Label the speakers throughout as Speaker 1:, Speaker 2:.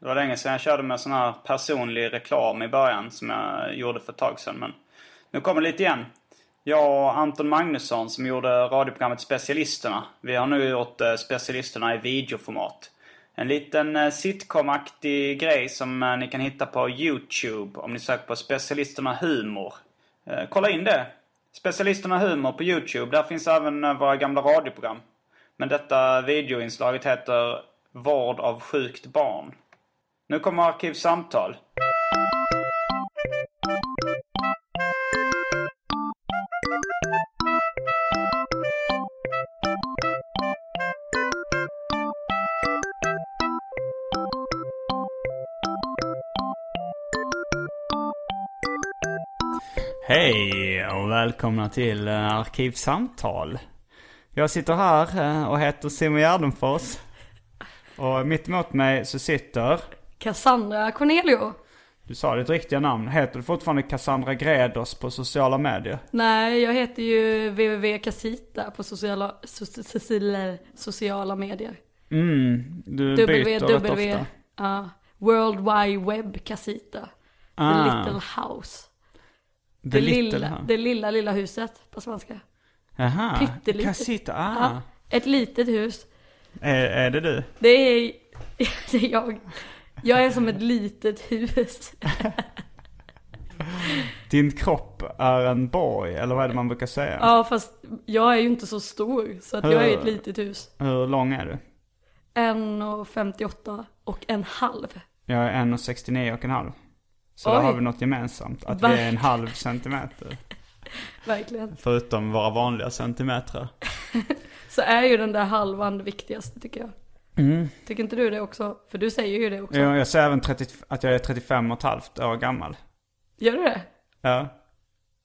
Speaker 1: Det var länge sedan jag körde med sån här personlig reklam i början som jag gjorde för ett tag sedan. Men nu kommer det lite igen. Jag och Anton Magnusson som gjorde radioprogrammet Specialisterna. Vi har nu gjort eh, Specialisterna i videoformat. En liten eh, sitcomaktig grej som eh, ni kan hitta på YouTube om ni söker på Specialisterna Humor. Eh, Kolla in det! Specialisterna Humor på YouTube. Där finns även eh, våra gamla radioprogram. Men detta videoinslaget heter Vård av sjukt barn. Nu kommer Arkivsamtal. Hej och välkomna till eh, Arkivsamtal. Jag sitter här eh, och heter Simon Gärdenfors. Och mitt emot mig så sitter,
Speaker 2: Cassandra Cornelio?
Speaker 1: du sa ditt riktiga namn, heter du fortfarande Cassandra Greders på sociala medier?
Speaker 2: Nej, jag heter ju www Casita på sociala, so, so, so, sociala medier.
Speaker 1: Mm, du byter rätt ofta.
Speaker 2: ja, World Wide Web Casita.
Speaker 1: Ah.
Speaker 2: The Little House.
Speaker 1: The,
Speaker 2: Det,
Speaker 1: Little
Speaker 2: lilla,
Speaker 1: House.
Speaker 2: det lilla, lilla huset på svenska.
Speaker 1: Aha,
Speaker 2: pyttelitet.
Speaker 1: Casita, ah.
Speaker 2: Ja, ett litet hus.
Speaker 1: Är, är det du?
Speaker 2: Det är, det är jag. Jag är som ett litet hus.
Speaker 1: Din kropp är en borg, eller vad är det man brukar säga?
Speaker 2: Ja, fast jag är ju inte så stor. Så att jag är ett litet hus.
Speaker 1: Hur lång är du?
Speaker 2: 1,58 och en halv.
Speaker 1: Jag är 1,69 och en halv. Så
Speaker 2: Oj.
Speaker 1: där har vi något gemensamt, att vi är en halv centimeter.
Speaker 2: Verkligen.
Speaker 1: Förutom våra vanliga centimeter.
Speaker 2: så är ju den där halvan det viktigaste tycker jag.
Speaker 1: Mm.
Speaker 2: Tycker inte du det också? För du säger ju det också.
Speaker 1: Jag, jag säger även 30, att jag är 35 och ett halvt år gammal.
Speaker 2: Gör du det?
Speaker 1: Ja.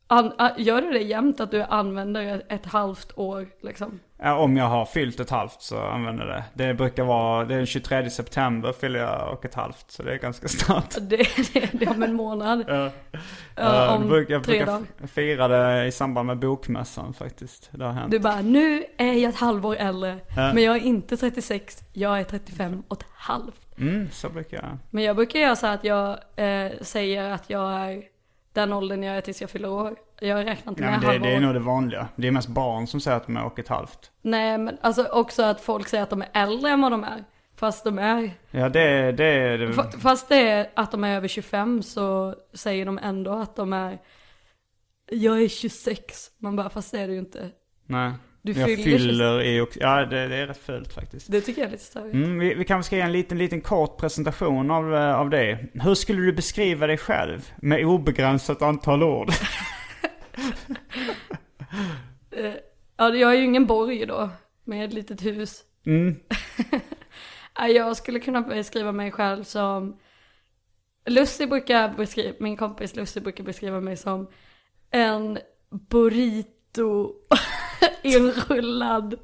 Speaker 2: An- a- gör du det jämt att du använder ett, ett halvt år liksom?
Speaker 1: Ja, Om jag har fyllt ett halvt så använder jag det. Det brukar vara, det är den 23 september fyller jag och ett halvt. Så det är ganska snart.
Speaker 2: Det, det, det är om en månad.
Speaker 1: Ja.
Speaker 2: Ja,
Speaker 1: Ja,
Speaker 2: om
Speaker 1: det brukar-
Speaker 2: tre
Speaker 1: brukar
Speaker 2: dagar.
Speaker 1: f- fira det i samband med bokmässan faktiskt. Det har hänt.
Speaker 2: Du bara, nu är jag ett halvår äldre.
Speaker 1: Ja.
Speaker 2: Men jag är inte 36, jag är 35 och ett halvt.
Speaker 1: Mm, så brukar jag.
Speaker 2: Men jag brukar göra så här att jag eh, säger att jag är den åldern jag är tills jag fyller år. Jag räknar inte
Speaker 1: Nej,
Speaker 2: med
Speaker 1: men det,
Speaker 2: halvår.
Speaker 1: det är nog det vanliga. Det är mest barn som säger att de är och ett halvt.
Speaker 2: Nej men alltså också att folk säger att de är äldre än vad de är. Fast de är
Speaker 1: Ja, det, det är det.
Speaker 2: Fa- Fast det är att de är över 25 så säger de ändå att de är Jag är 26. Man bara, fast det är du ju inte.
Speaker 1: Nej.
Speaker 2: Du
Speaker 1: jag
Speaker 2: fyller-
Speaker 1: fyller i och... Ja, det, det är rätt fult faktiskt.
Speaker 2: Det tycker jag är lite större.
Speaker 1: Mm, vi, vi kanske ska ge en liten, liten kort presentation av, eh, av dig. Hur skulle du beskriva dig själv med obegränsat antal ord?
Speaker 2: Ja, jag är ju ingen borg då. Med ett litet hus. Ja, jag skulle kunna beskriva mig själv som Lucy brukar beskriva, min kompis Lucy brukar beskriva mig som en burrito inrullad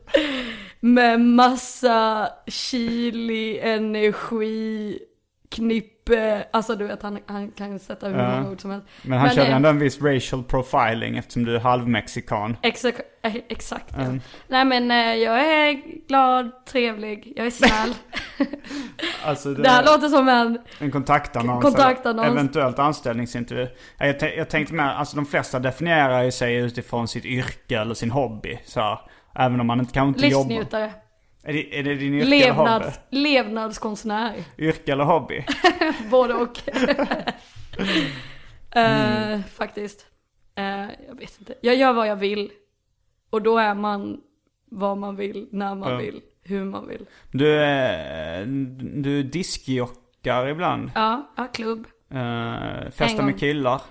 Speaker 2: med massa chili, energi, knippe, alltså du vet han, han kan sätta hur många ord som helst.
Speaker 1: Men han körde
Speaker 2: eh,
Speaker 1: ändå en viss racial profiling eftersom du är halvmexikan.
Speaker 2: Exakt, eh, exakt ja. Nej men eh, jag är glad, trevlig, jag är snäll.
Speaker 1: Alltså det,
Speaker 2: det här låter som en
Speaker 1: en kontaktannons.
Speaker 2: Kontaktannons.
Speaker 1: eller Eventuellt anställningsintervju. Ja, Jag, tän- jag tänkte med, alltså de flesta definierar ju sig utifrån sitt yrke eller sin hobby. Så här, även om man inte, kanske inte jobbar.
Speaker 2: livsnjutare,
Speaker 1: Är det, är det din yrke eller hobby?
Speaker 2: levnads, levnadskonstnär,
Speaker 1: Yrke eller hobby?
Speaker 2: både och. Eh, Faktiskt. Eh, jag vet inte, jag gör vad jag vill. Och då är man vad man vill, när man vill, hur man vill.
Speaker 1: Du, eh, du diskjockar ibland.
Speaker 2: Ja, ja klubb.
Speaker 1: Eh, festar
Speaker 2: gång.
Speaker 1: med killar.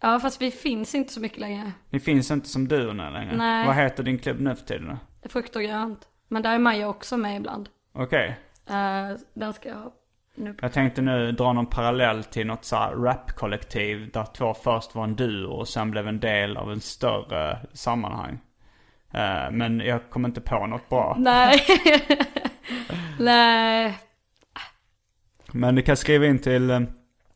Speaker 2: Ja, fast vi finns inte så mycket längre.
Speaker 1: Ni finns inte som du nu längre.
Speaker 2: Nej.
Speaker 1: Vad heter din klubb nu för tiden?
Speaker 2: Frukt och grönt. Men där är Maja också med ibland.
Speaker 1: Okej.
Speaker 2: Eh, den ska jag ha nu på.
Speaker 1: Jag tänkte nu dra någon parallell till något så här rapkollektiv där två först var en duo och sen blev en del av en större sammanhang. Eh, Men jag kom inte på något bra.
Speaker 2: Nej. Nej.
Speaker 1: Men ni kan skriva in till eh,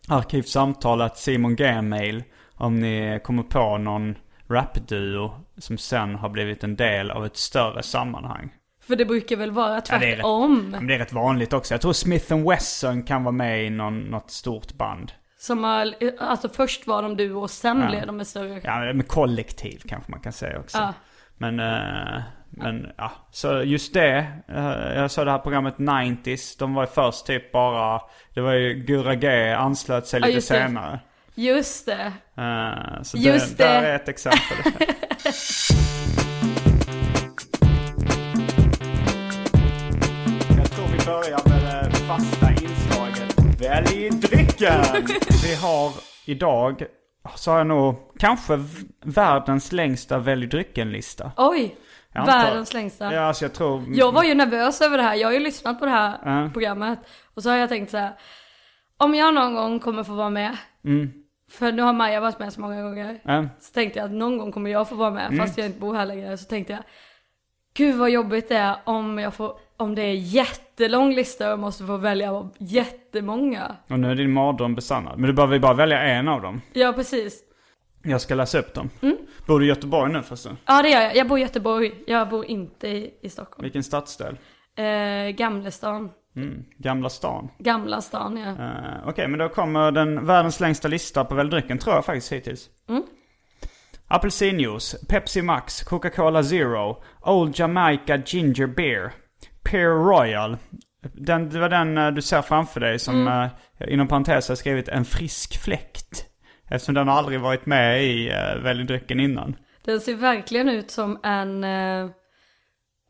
Speaker 1: arkivsamtalet Simon Gmail om ni kommer på någon rapduo som sen har blivit en del av ett större sammanhang.
Speaker 2: För det brukar väl vara
Speaker 1: Ja, det är- Mm.
Speaker 2: tvärtom.
Speaker 1: Men det är rätt vanligt också. Jag tror Smith Wesson kan vara med i någon, något stort band.
Speaker 2: Som har, alltså först var de du och sen
Speaker 1: Ja.
Speaker 2: blev de en större.
Speaker 1: Ja, men kollektiv kanske man kan säga också.
Speaker 2: Ja.
Speaker 1: Men, eh, men ja, så just det. eh, Jag sa det här programmet 90s. De var ju först typ bara, det var ju Gura G anslöt sig
Speaker 2: Ja,
Speaker 1: lite
Speaker 2: just det.
Speaker 1: senare.
Speaker 2: Just det.
Speaker 1: Eh, Så
Speaker 2: Just
Speaker 1: det, där
Speaker 2: det.
Speaker 1: är ett exempel. Jag tror vi börjar med det fasta inslaget. Välj drycken! Vi har idag, så har jag nog, kanske v- världens längsta välj drycken-lista.
Speaker 2: Oj.
Speaker 1: Jag antar-
Speaker 2: Världens längsta.
Speaker 1: Ja, alltså jag tror...
Speaker 2: Jag var ju nervös över det här. Jag har ju lyssnat på det här
Speaker 1: Ja.
Speaker 2: programmet. Och så har jag tänkt så här. Om jag någon gång kommer få vara med.
Speaker 1: Mm.
Speaker 2: För nu har Maja varit med så många gånger.
Speaker 1: Ja.
Speaker 2: Så tänkte jag att någon gång kommer jag få vara med. Fast jag inte bor här längre. Så tänkte jag. Gud vad jobbigt det är om jag får. Om det är jättelång lista och jag måste få välja av jättemånga.
Speaker 1: Och nu är din mardröm besannad. Men du behöver ju bara välja en av dem.
Speaker 2: Ja precis.
Speaker 1: Jag ska läsa upp dem.
Speaker 2: Mm.
Speaker 1: Bor du i Göteborg nu förresten?
Speaker 2: Ja det gör jag. Jag bor i Göteborg. Jag bor inte i, i Stockholm.
Speaker 1: Vilken stadsdel?
Speaker 2: Eh, Gamlestan.
Speaker 1: Gamla stan.
Speaker 2: Gamla stan ja.
Speaker 1: Eh, Okej, men då kommer den världens längsta lista på väldrycken, tror jag faktiskt hittills. Apelsinjuice, Pepsi Max, Coca-Cola Zero, Old Jamaica Ginger Beer, Pear Royal. Den, det var den eh, du ser framför dig som eh, jag inom parentes har skrivit en frisk fläkt. Eftersom den aldrig varit med i uh, väldrycken innan.
Speaker 2: Den ser verkligen ut som en eh,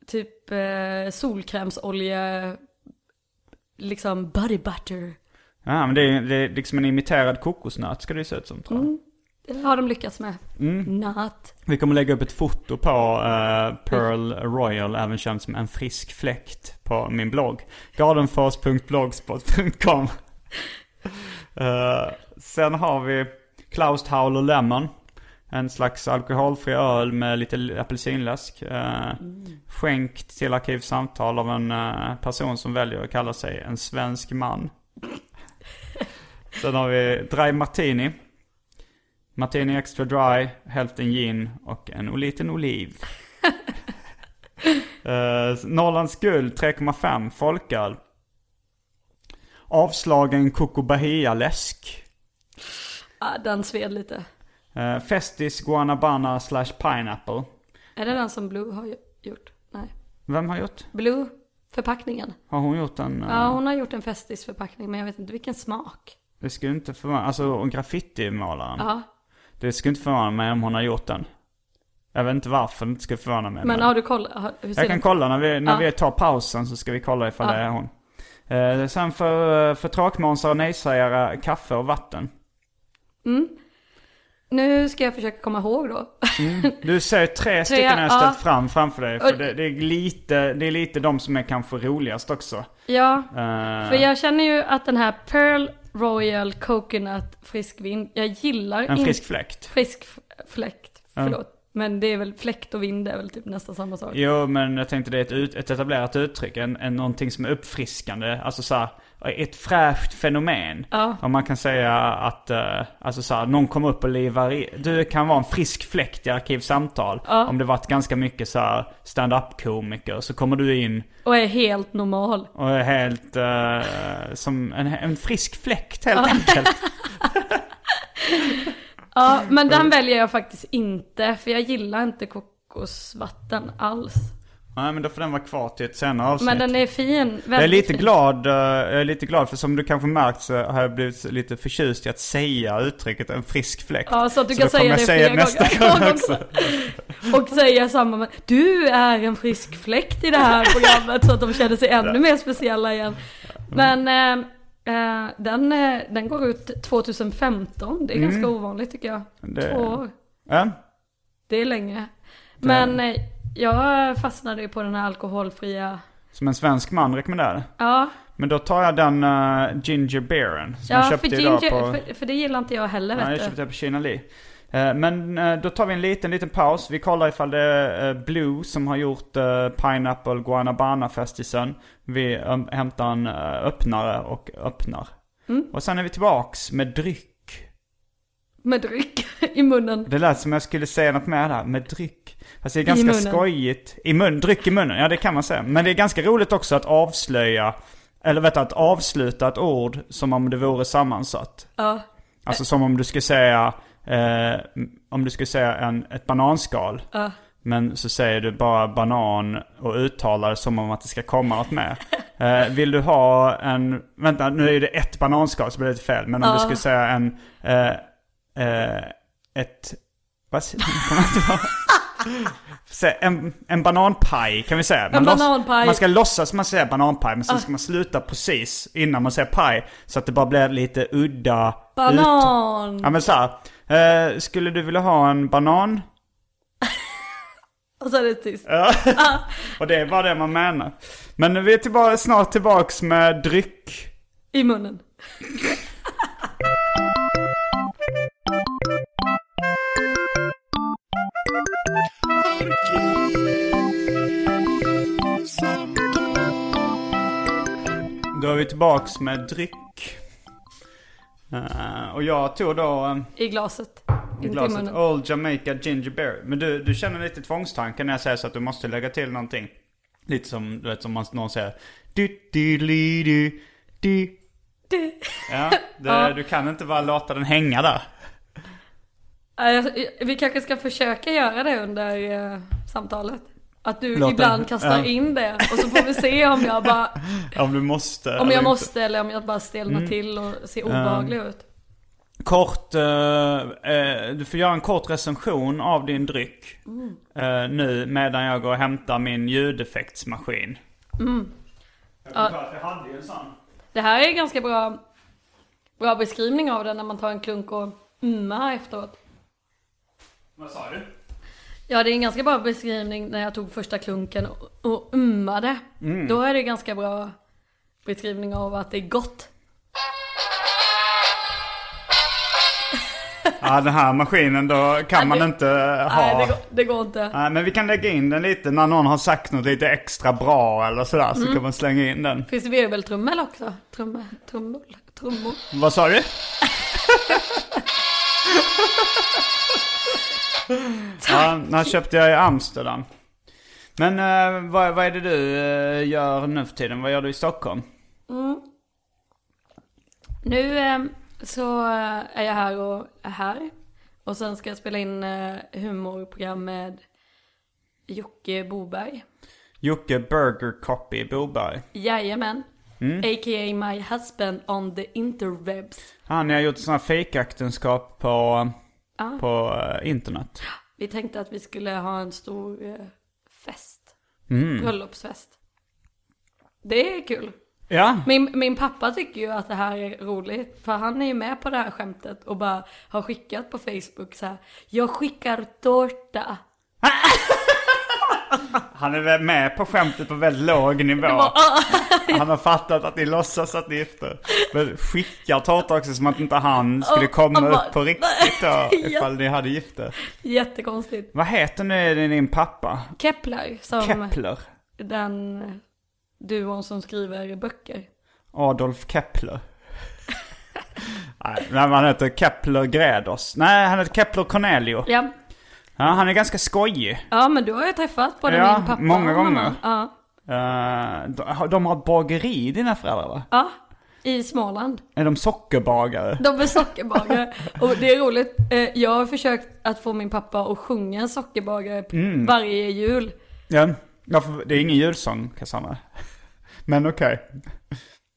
Speaker 2: typ eh, solkrämsolja, liksom body butter.
Speaker 1: Ja, men det är, det är liksom en imiterad kokosnöt ska det ju se ut som tror jag.
Speaker 2: Det har de lyckats med. Not.
Speaker 1: Vi kommer lägga upp ett foto på eh, Pearl Royal, även känd som en frisk fläkt, på min blogg. Gardenfors.blogspot.com Eh, Sen har vi Klaus Howler Lemon. En slags alkoholfri öl med lite l- apelsinläsk. eh, Skänkt till Arkivsamtal av en eh, person som väljer att kalla sig en svensk man. Sen har vi Dry Martini. Martini extra dry, hälften gin och en liten oliv. uh, Norrlands guld 3,5 folköl. Avslagen Coco Bahia läsk.
Speaker 2: Ah, den sved lite.
Speaker 1: Eh, Festis Guanabana slash pineapple.
Speaker 2: Är det den som Blue har ju- gjort? Nej.
Speaker 1: Vem har gjort?
Speaker 2: Blue, förpackningen.
Speaker 1: Har hon gjort en? eh,
Speaker 2: Ja, hon har gjort en festisförpackning men jag vet inte vilken smak.
Speaker 1: Det skulle inte förvåna Alltså och graffitimålaren.
Speaker 2: Ja.
Speaker 1: Det skulle inte förvåna mig om hon har gjort den. Jag vet inte varför det inte skulle förvåna mig.
Speaker 2: Men har du kollat? har- Hur ser
Speaker 1: Jag
Speaker 2: den-
Speaker 1: kan kolla när vi, när
Speaker 2: Ja.
Speaker 1: vi tar pausen så ska vi kolla ifall
Speaker 2: Ja.
Speaker 1: det är hon. Eh, sen för, eh, för tråkmånsar och nejsägare, kaffe och vatten.
Speaker 2: Nu ska jag försöka komma ihåg då.
Speaker 1: Du ser tre stycken jag har ställt
Speaker 2: ja.
Speaker 1: fram framför dig. För
Speaker 2: Och-
Speaker 1: det, det, är lite, det är lite de som är kanske roligast också.
Speaker 2: ja.
Speaker 1: Eh,
Speaker 2: För jag känner ju att den här Pearl Royal Coconut friskvind, jag gillar
Speaker 1: en
Speaker 2: in-
Speaker 1: frisk fläkt.
Speaker 2: frisk f- fläkt, förlåt. Men det är väl fläkt och vind är väl typ nästan samma sak.
Speaker 1: Jo, men jag tänkte det är ett, ut, ett etablerat uttryck. En, en, någonting som är uppfriskande. Alltså så här, ett fräscht fenomen.
Speaker 2: Ja.
Speaker 1: Om man kan säga att eh, alltså så här, någon kom upp och livar i. Du kan vara en frisk fläkt i Arkivsamtal. Om det varit ganska mycket så här stand-up-komiker. Så kommer du in
Speaker 2: Och är helt normal.
Speaker 1: och är helt eh, som en, en frisk fläkt helt enkelt.
Speaker 2: Ja, men den väljer jag faktiskt inte för jag gillar inte kokosvatten alls.
Speaker 1: Nej men då får den vara kvar till ett senare avsnitt.
Speaker 2: Men den är fin. Väldigt
Speaker 1: Jag är lite
Speaker 2: fin.
Speaker 1: glad, eh, jag är lite glad för som du kanske märkt så har jag blivit lite förtjust i att säga uttrycket en frisk fläkt.
Speaker 2: Ja, så att du
Speaker 1: då
Speaker 2: kan säga
Speaker 1: kommer jag
Speaker 2: det
Speaker 1: säga
Speaker 2: flera
Speaker 1: nästa
Speaker 2: gånger.
Speaker 1: gång också.
Speaker 2: Och säga samma med, du är en frisk fläkt i det här programmet så att de känner sig ännu mer speciella igen.
Speaker 1: Mm.
Speaker 2: Men eh, eh, den, eh, den går ut 2015, det är ganska ovanligt tycker jag.
Speaker 1: Mm. Det-
Speaker 2: Två år,
Speaker 1: Ja,
Speaker 2: det är länge. Men eh, jag fastnade ju på den här alkoholfria,
Speaker 1: som en svensk man rekommenderade.
Speaker 2: ja,
Speaker 1: Men då tar jag den eh, Ginger Beeren som jag
Speaker 2: ja för,
Speaker 1: köpte idag
Speaker 2: ginger,
Speaker 1: på...
Speaker 2: för, för det gillar inte jag heller
Speaker 1: Nej,
Speaker 2: vet
Speaker 1: jag
Speaker 2: du.
Speaker 1: köpte den på Kina Lee. Eh, Men eh, då tar vi en liten, liten paus. Vi kollar ifall det är eh, Blue som har gjort eh, Pineapple Guanabana Festisen. Vi eh, hämtar en eh, öppnare och öppnar.
Speaker 2: Mm.
Speaker 1: Och sen är vi tillbaks med dryck.
Speaker 2: Med dryck i munnen.
Speaker 1: Det lät som jag skulle säga något mer där, med dryck. Fast det är ganska
Speaker 2: munnen.
Speaker 1: skojigt. I mun, dryck i munnen, ja det kan man säga. Men det är ganska roligt också att avslöja, eller vet du, att avsluta ett ord som om det vore sammansatt.
Speaker 2: Ja.
Speaker 1: Alltså som om du skulle säga, eh, om du skulle säga en, ett bananskal. Men så säger du bara banan och uttalar som om att det ska komma något mer. Eh, vill du ha en, vänta nu är det ett bananskal så blir det lite fel. Men om du skulle säga en, eh, eh, ett, vad säger kommer jag inte ihåg. Sä- En, en bananpaj kan vi säga. Man låts-
Speaker 2: bananpaj.
Speaker 1: Man ska låtsas man säger bananpaj men sen ska man sluta precis innan man säger paj. Så att det bara blir lite udda ut-
Speaker 2: Banan!
Speaker 1: Ja men så här, eh, skulle du vilja ha en banan?
Speaker 2: Och så är det tyst.
Speaker 1: Och det är bara det man menar. Men vi är tillbaka, snart tillbaks med dryck.
Speaker 2: I munnen.
Speaker 1: Då är vi tillbaks med dryck. Eh, och jag tog då eh,
Speaker 2: I glaset. Inte i
Speaker 1: glaset
Speaker 2: munnen.
Speaker 1: Old Jamaica Ginger Beer. Men du, du känner lite tvångstanken när jag säger så att du måste lägga till någonting. Lite som, du vet, som man, någon säger. Du, du, li, du, du.
Speaker 2: Du.
Speaker 1: Ja, det, du kan inte bara låta den hänga där.
Speaker 2: Ja, jag- Vi kanske ska försöka göra det under eh, samtalet. Att du
Speaker 1: Låt
Speaker 2: ibland
Speaker 1: den-
Speaker 2: kastar
Speaker 1: ja.
Speaker 2: in det och så får vi se om jag bara
Speaker 1: Om du måste.
Speaker 2: om
Speaker 1: eller
Speaker 2: jag
Speaker 1: inte.
Speaker 2: måste eller om jag bara stelnar
Speaker 1: Mm.
Speaker 2: till och ser obehaglig ut.
Speaker 1: Kort, eh, eh, du får göra en kort recension av din dryck.
Speaker 2: Mm.
Speaker 1: Eh, nu medan jag går och hämtar min ljudeffektsmaskin.
Speaker 2: Mm.
Speaker 1: Jag hade ju en sån.
Speaker 2: Det här är en ganska bra, bra beskrivning av det när man tar en klunk och ummar efteråt.
Speaker 1: Vad sa du?
Speaker 2: Ja det är en ganska bra beskrivning när jag tog första klunken och- och ummade.
Speaker 1: Mm.
Speaker 2: Då är det ganska bra beskrivning av att det är gott.
Speaker 1: Ja den här maskinen då kan
Speaker 2: Nej,
Speaker 1: man
Speaker 2: det-
Speaker 1: inte ha.
Speaker 2: Nej det går, det går inte.
Speaker 1: Nej, men vi kan lägga in den lite när någon har sagt något lite extra bra eller sådär
Speaker 2: Mm.
Speaker 1: så kan man slänga in den.
Speaker 2: Finns det virveltrummel också? Trumme, trummor, trummor.
Speaker 1: Vad sa du? ja, den här köpte jag i Amsterdam. Men eh, vad, vad är det du eh, gör nu för tiden? Vad gör du i Stockholm?
Speaker 2: Nu eh, så eh, är jag här och är här. Och sen ska jag spela in eh, humorprogram med Jocke Boberg.
Speaker 1: Jocke Burger Copy i Boberg.
Speaker 2: Jajamän. A.k.a. my husband on the interwebs.
Speaker 1: Han har gjort sådana fejkäktenskap på, på eh, internet.
Speaker 2: Vi tänkte att vi skulle ha en stor eh, fest. Bröllopsfest. Det är kul.
Speaker 1: Ja,
Speaker 2: Min, min pappa tycker ju att det här är roligt, för han är ju med på det här skämtet och bara har skickat på Facebook så här. Jag skickar tårta.
Speaker 1: han är väl med på skämtet på väldigt låg nivå. Han har fattat att ni låtsas att ni är gifta. Men skickar tårta också som att inte han skulle
Speaker 2: Och- och
Speaker 1: komma
Speaker 2: bara-
Speaker 1: upp på riktigt då.
Speaker 2: Ja.
Speaker 1: Ifall ni hade gift er.
Speaker 2: Jättekonstigt.
Speaker 1: Vad heter nu din pappa?
Speaker 2: Kepler, som
Speaker 1: Kepler?
Speaker 2: den duon som skriver böcker.
Speaker 1: Adolf Kepler? Nej, men han heter Kepler Gräders. Nej, han heter Kepler Cornelio.
Speaker 2: Ja,
Speaker 1: Ja, han är ganska skojig.
Speaker 2: ja men du har ju träffat både
Speaker 1: Ja,
Speaker 2: min pappa
Speaker 1: många
Speaker 2: och mamma.
Speaker 1: gånger.
Speaker 2: Ja,
Speaker 1: Eh, de- de har ett bageri, dina föräldrar va?
Speaker 2: ja, i Småland.
Speaker 1: Är de sockerbagare?
Speaker 2: De är sockerbagare. Och det är roligt, eh, jag
Speaker 1: Mm.
Speaker 2: har försökt att få min pappa att sjunga en sockerbagare p- varje jul.
Speaker 1: Ja. Ja, för det är ingen julsång, Cassandra. Men okej.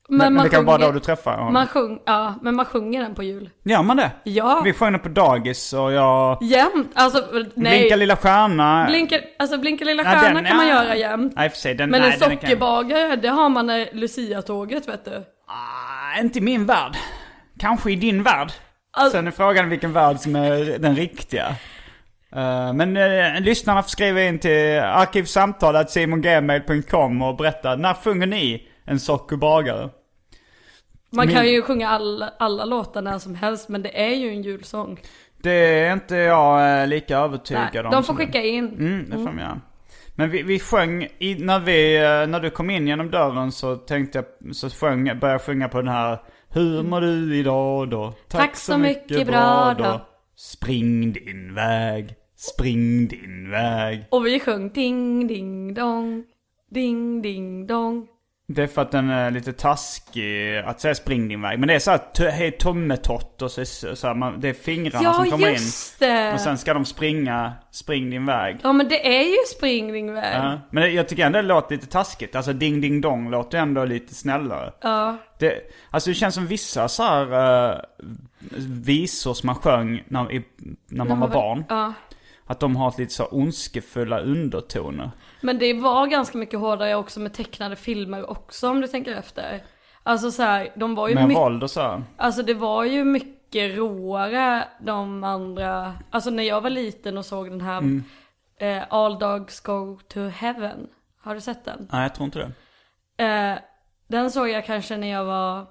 Speaker 2: Men,
Speaker 1: Men, men
Speaker 2: man
Speaker 1: det kan vara då
Speaker 2: sjunger-
Speaker 1: du träffar honom.
Speaker 2: man sjung, Ja, men man sjunger den på jul.
Speaker 1: Gör man det?
Speaker 2: Ja.
Speaker 1: Vi sjöng den på dagis och jag...
Speaker 2: Jämt, alltså nej.
Speaker 1: Blinka lilla stjärna.
Speaker 2: Blinka, alltså blinka lilla
Speaker 1: Ja,
Speaker 2: stjärna
Speaker 1: den-
Speaker 2: kan man
Speaker 1: ja.
Speaker 2: göra jämt.
Speaker 1: Nej, i och för sig, den,
Speaker 2: Men
Speaker 1: nej,
Speaker 2: en
Speaker 1: den kan-
Speaker 2: sockerbagare, det har man när Lucia-tåget vet du.
Speaker 1: Ah, inte i min värld. Kanske i din värld.
Speaker 2: Alltså-
Speaker 1: Sen är frågan vilken värld som är den riktiga. Eh, men eh, lyssnarna får skriva in till arkivsamtalet.simongmail.com och berätta när sjunger ni en sockerbagare?
Speaker 2: Man kan
Speaker 1: Min-
Speaker 2: ju sjunga alla, alla låtar när som helst men det är ju en julsång.
Speaker 1: Det är inte jag eh, lika
Speaker 2: Nej,
Speaker 1: övertygad om.
Speaker 2: de får
Speaker 1: som-
Speaker 2: skicka in.
Speaker 1: Mm, det får de göra. Men vi, vi sjöng, i, när, vi, eh, när du kom in genom dörren så tänkte jag, så sjöng, började jag sjunga på den här Hur mår du idag då?
Speaker 2: Mm. Tack så mycket bra då."
Speaker 1: Spring din väg, spring din väg.
Speaker 2: Och vi sjöng ding ding dong, ding ding dong.
Speaker 1: Det är för att den är lite taskig att säga spring din väg. Men det är så här, t- hej tummetott och så, så här, man, det är fingrarna
Speaker 2: Ja,
Speaker 1: som kommer in.
Speaker 2: just det.
Speaker 1: Och sen ska de springa, spring din väg.
Speaker 2: Ja men det är ju spring ding väg.
Speaker 1: Ja, men det- jag tycker ändå det låter lite taskigt. Alltså ding ding dong låter ändå lite snällare.
Speaker 2: Ja.
Speaker 1: Det, alltså det känns som vissa så här eh, visor som man sjöng när, i, när man var barn.
Speaker 2: Ja.
Speaker 1: Att de har ett lite så ondskefulla undertoner.
Speaker 2: Men det var ganska mycket hårdare också med tecknade filmer också om du tänker efter. Alltså så här, de var ju
Speaker 1: Med
Speaker 2: mycket,
Speaker 1: våld och så. här.
Speaker 2: alltså det var ju mycket råare de andra, alltså när jag var liten och såg den här eh, All Dogs Go To Heaven, har du sett den?
Speaker 1: Nej jag tror inte det.
Speaker 2: Eh, den såg jag kanske när jag var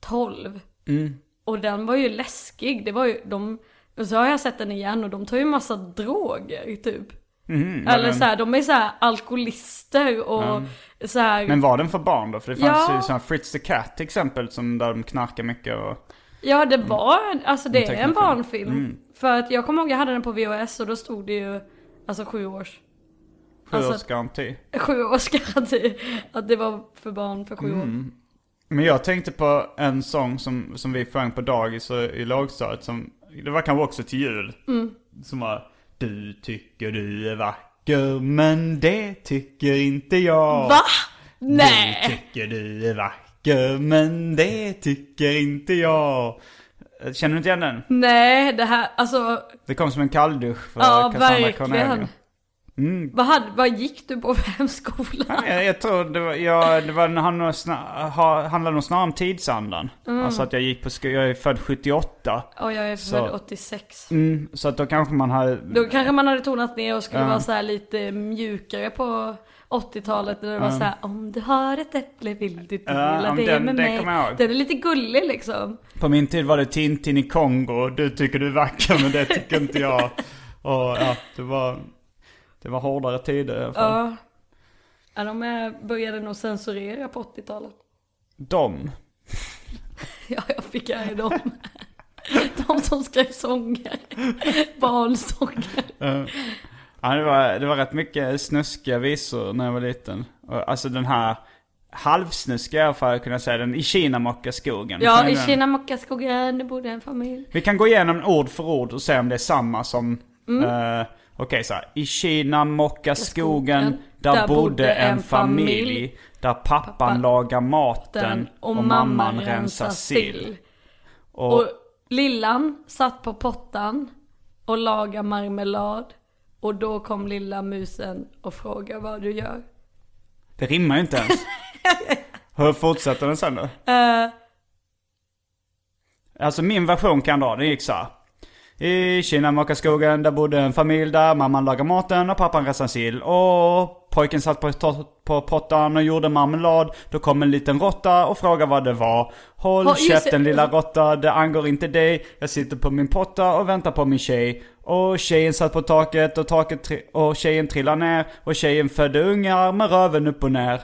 Speaker 2: 12.
Speaker 1: Mm.
Speaker 2: Och den var ju läskig. Det var ju, de, och så har jag sett den igen och de tar ju massa droger typ.
Speaker 1: Mhm,
Speaker 2: Eller så här, de är så här alkoholister och så här.
Speaker 1: Men var den för barn då? För det fanns
Speaker 2: Ja.
Speaker 1: ju sån här Fritz the Cat till exempel som där de knarkar mycket och...
Speaker 2: Ja det var, alltså det är en
Speaker 1: tecknad Mm, film. Mm.
Speaker 2: barnfilm. För att jag kommer ihåg jag hade den på VHS och då stod det ju, alltså sju års, Alltså-
Speaker 1: Sjuårsgaranti.
Speaker 2: sju års garanti. Att det var för barn för sju
Speaker 1: Mm.
Speaker 2: år.
Speaker 1: Men jag tänkte på en sång som, som vi sjöng på dagis och i lågstadiet som, det var kanske också till jul.
Speaker 2: Mm.
Speaker 1: Som var Du tycker du är vacker men det tycker inte jag.
Speaker 2: Va?
Speaker 1: Du
Speaker 2: Nej!
Speaker 1: tycker du är vacker men det tycker inte jag. Känner du inte igen den?
Speaker 2: Nej det här, alltså
Speaker 1: Det kom som en kalldusch för
Speaker 2: Ja,
Speaker 1: Cassandra
Speaker 2: verkligen.
Speaker 1: Cornelius. Mm.
Speaker 2: Vad, hade, vad gick du på för hemskola?
Speaker 1: Jag, jag tror det var, jag, det var när han nog snar, ha, handlade nog snarare om tidsandan.
Speaker 2: Mm.
Speaker 1: Alltså att jag gick på sko- jag är född 78.
Speaker 2: Ja, jag är född
Speaker 1: Så.
Speaker 2: 86.
Speaker 1: Mm, så att då kanske man hade
Speaker 2: Då kanske man hade tonat ner och skulle vara så här lite mjukare på 80-talet. När det var så här, om du har ett äpple vill du dela
Speaker 1: om
Speaker 2: det
Speaker 1: den-
Speaker 2: med
Speaker 1: den
Speaker 2: mig.
Speaker 1: kommer jag ihåg.
Speaker 2: Den är lite gullig liksom.
Speaker 1: På min tid var det Tintin i Kongo, du tycker du är vacker men det tycker inte jag. Och ja, det var, det var hårdare tider i alla fall.
Speaker 2: Ja. Ja, de eh, började nog censurera på 80-talet.
Speaker 1: De.
Speaker 2: Ja, jag fick är dem. De som skrev sånger. Barnsånger.
Speaker 1: Ja, det, var, det var rätt mycket snuskiga visor när jag var liten. Och, alltså den här halvsnuskiga i alla fall kunna säga den, i Kinamockaskogen.
Speaker 2: Ja,
Speaker 1: Känner
Speaker 2: i
Speaker 1: du den?
Speaker 2: Kina Mockaskogen, det bodde en familj.
Speaker 1: Vi kan gå igenom ord för ord och se om det är samma som... eh, Okej så här. I Kina mocka skogen, där, bodde en familj. Där pappan
Speaker 2: Pappan
Speaker 1: lagar
Speaker 2: Den
Speaker 1: maten
Speaker 2: och, mamman rensar sill. Och, lillan satt på pottan och lagade marmelad. Och då kom lilla musen och frågade vad du gör.
Speaker 1: Det rimmar ju inte ens. Hur fortsätter den sen då?
Speaker 2: Eh,
Speaker 1: Alltså min version kan dra, den gick så här. I Kinnamockaskogen där bodde en familj där mamman lagade maten och pappan rensade sill. Och pojken satt på, to- på pottan och gjorde marmelad. Då kom en liten råtta och frågade vad det var. Håll
Speaker 2: Ja, just det.
Speaker 1: käften lilla råtta, det angår inte dig. Jag sitter på min potta och väntar på min tjej. Och tjejen satt på taket och, taket tri- och tjejen trillade ner. Och tjejen födde ungar med röven upp och ner.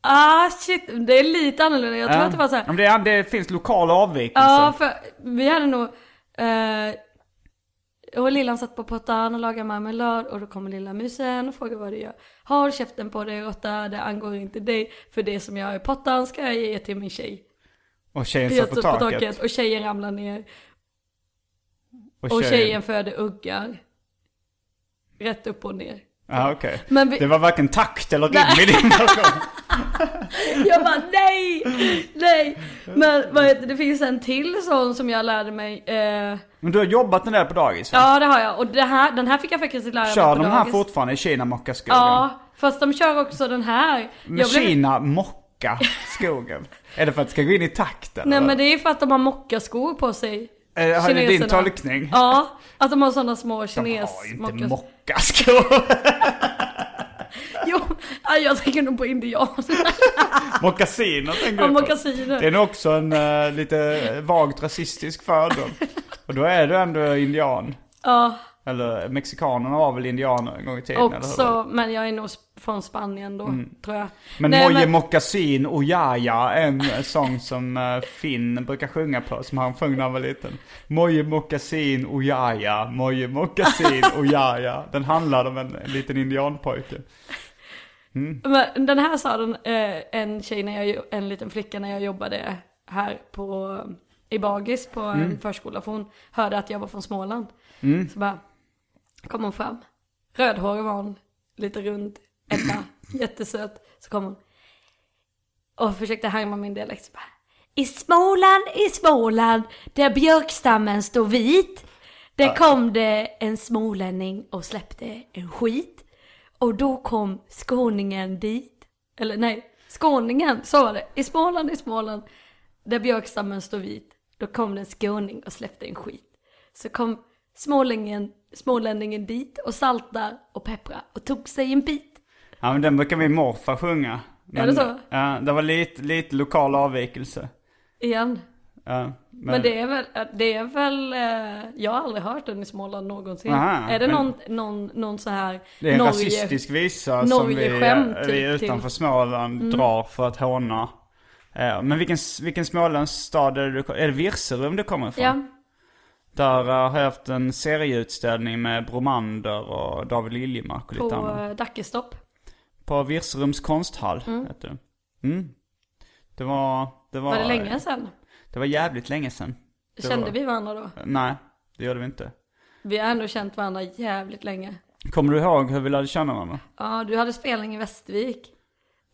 Speaker 2: ah shit, det är lite annorlunda. Jag tror att det var så
Speaker 1: Ja, men
Speaker 2: här.
Speaker 1: det, är- det finns lokala avvikelser.
Speaker 2: Ja, för vi hade nog... eh, och lillan satt på pottan och lagade marmelad och då kommer lilla musen och frågar vad du gör. Håll käften på dig råtta, det angår inte dig. För det som jag har i pottan ska jag ge till min tjej.
Speaker 1: Och tjejen
Speaker 2: Jag
Speaker 1: satt på
Speaker 2: stod på
Speaker 1: taket.
Speaker 2: taket och tjejen ramlar ner. Och tjejen föder uggar. Rätt upp och ner.
Speaker 1: Ja, okej.
Speaker 2: Men vi-
Speaker 1: Det var varken takt eller rim i din version.
Speaker 2: Jag bara nej, nej. Men vad heter, det, det finns en till sån som jag lärde mig. Eh,
Speaker 1: Men du har jobbat den där på dagis va?
Speaker 2: ja det har jag. Och det här, den här fick jag faktiskt lära mig
Speaker 1: Kör
Speaker 2: på
Speaker 1: de här
Speaker 2: dagis.
Speaker 1: fortfarande i Kina mocka skogen?
Speaker 2: Ja, fast de kör också den här.
Speaker 1: Men
Speaker 2: Jag blev-
Speaker 1: Kina mocka skogen? är det för att det ska gå in i takten?
Speaker 2: Nej
Speaker 1: eller?
Speaker 2: men det är för att de har mockaskor på sig.
Speaker 1: Eh, har- är det din
Speaker 2: Kineserna.
Speaker 1: tolkning?
Speaker 2: Ja, att de har sådana små
Speaker 1: De har ju
Speaker 2: kines
Speaker 1: inte
Speaker 2: mockaskor.
Speaker 1: mocka skog.
Speaker 2: Jo, ja, jag tänker nog på indianer.
Speaker 1: Mockasiner tänker
Speaker 2: Ja,
Speaker 1: du på.
Speaker 2: mockasiner.
Speaker 1: Det är nog också en eh, lite vagt rasistisk fördom. Och då är du ändå indian.
Speaker 2: Ja,
Speaker 1: Eller mexikanerna var väl indianer en gång i tiden? eller hur?
Speaker 2: också. Men jag är nog sp- från Spanien då, tror jag.
Speaker 1: Mm. Men
Speaker 2: Nej,
Speaker 1: Moje Mockasin och Jaja är en sång som eh, Finn brukar sjunga på, som han sjöng när han var liten. Moje Mockasin och Jaja, Moje Mockasin och Jaja. Den handlar om en liten indianpojke.
Speaker 2: Men den här sa den, eh, en tjej, när jag, jo- en liten flicka när jag jobbade här på, i Bagis på en förskola. För hon hörde att jag var från Småland. Så bara kom hon fram. Rödhårig var hon, lite rund, Ebba, jättesöt. Så kom hon och försökte härma min dialekt. Så bara, I Småland, i Småland, där björkstammen står vit. Där kom det en smålänning och släppte en skit. Och då kom skåningen dit. Eller nej, skåningen, så var det. I Småland, i Småland, där björkstammen står vit. Då kom det en skåning och släppte en skit. Så kom smålänningen, smålänningen dit och saltar och pepprar och tog sig en bit.
Speaker 1: Ja men den brukar min morfar sjunga. Men,
Speaker 2: Är det så?
Speaker 1: Ja, det var lite, lite lokal avvikelse.
Speaker 2: Igen.
Speaker 1: Ja,
Speaker 2: Men det är väl, det är väl eh, jag har aldrig hört den i Småland någonsin.
Speaker 1: Aha,
Speaker 2: är det
Speaker 1: men-
Speaker 2: någon, någon, någon så här
Speaker 1: Det är en rasistisk visa som vi,
Speaker 2: Norge-skämt
Speaker 1: vi eh,
Speaker 2: typ Mm. till-
Speaker 1: utanför Småland drar för att håna. Eh, Men vilken, vilken småländsk stad är det du Är det Virserum du kommer ifrån?
Speaker 2: Ja,
Speaker 1: Där eh, har jag haft en serieutställning med Bromander och David Liljemark och
Speaker 2: på
Speaker 1: lite annat.
Speaker 2: eh, Dackestopp.
Speaker 1: På Virserums konsthall heter det. Mm. Det var... Det var,
Speaker 2: Var det länge sedan?
Speaker 1: Det var jävligt länge sedan. Det
Speaker 2: Kände
Speaker 1: var,
Speaker 2: vi varandra då?
Speaker 1: Nej, det gjorde vi inte.
Speaker 2: Vi har ändå känt varandra jävligt länge.
Speaker 1: Kommer du ihåg hur vi lärde känna varandra?
Speaker 2: Ja, du hade spelning i Västervik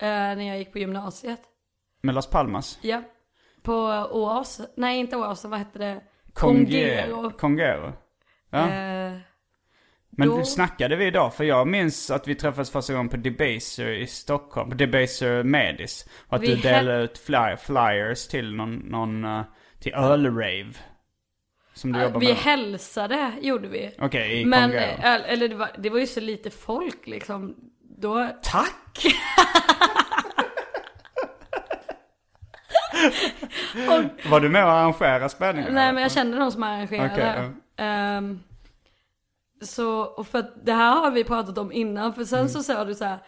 Speaker 2: eh, när jag gick på gymnasiet.
Speaker 1: Med Las Palmas?
Speaker 2: Ja. På Oas, nej inte Oas, vad hette det?
Speaker 1: Congero. Congero. Ja.
Speaker 2: Eh,
Speaker 1: Men
Speaker 2: då-
Speaker 1: snackade vi idag? För jag minns att vi träffades första gången på Debaser i Stockholm. På Debaser Medis. Och att
Speaker 2: Vi
Speaker 1: du
Speaker 2: hä-
Speaker 1: delade ut fly- flyers till någon, någon eh, till ölrave. Som du jobbar
Speaker 2: vi
Speaker 1: med.
Speaker 2: hälsade gjorde vi.
Speaker 1: Okej, i
Speaker 2: Men,
Speaker 1: Congero.
Speaker 2: eh, el- eller det var, det var ju så lite folk liksom. Då,
Speaker 1: Tack! Var du med och arrangerade spelningen?
Speaker 2: nej men jag kände någon som arrangerade.
Speaker 1: Okej,
Speaker 2: Ehm, så, och för att det här har vi pratat om innan. För sen
Speaker 1: Mm.
Speaker 2: så sa du så här.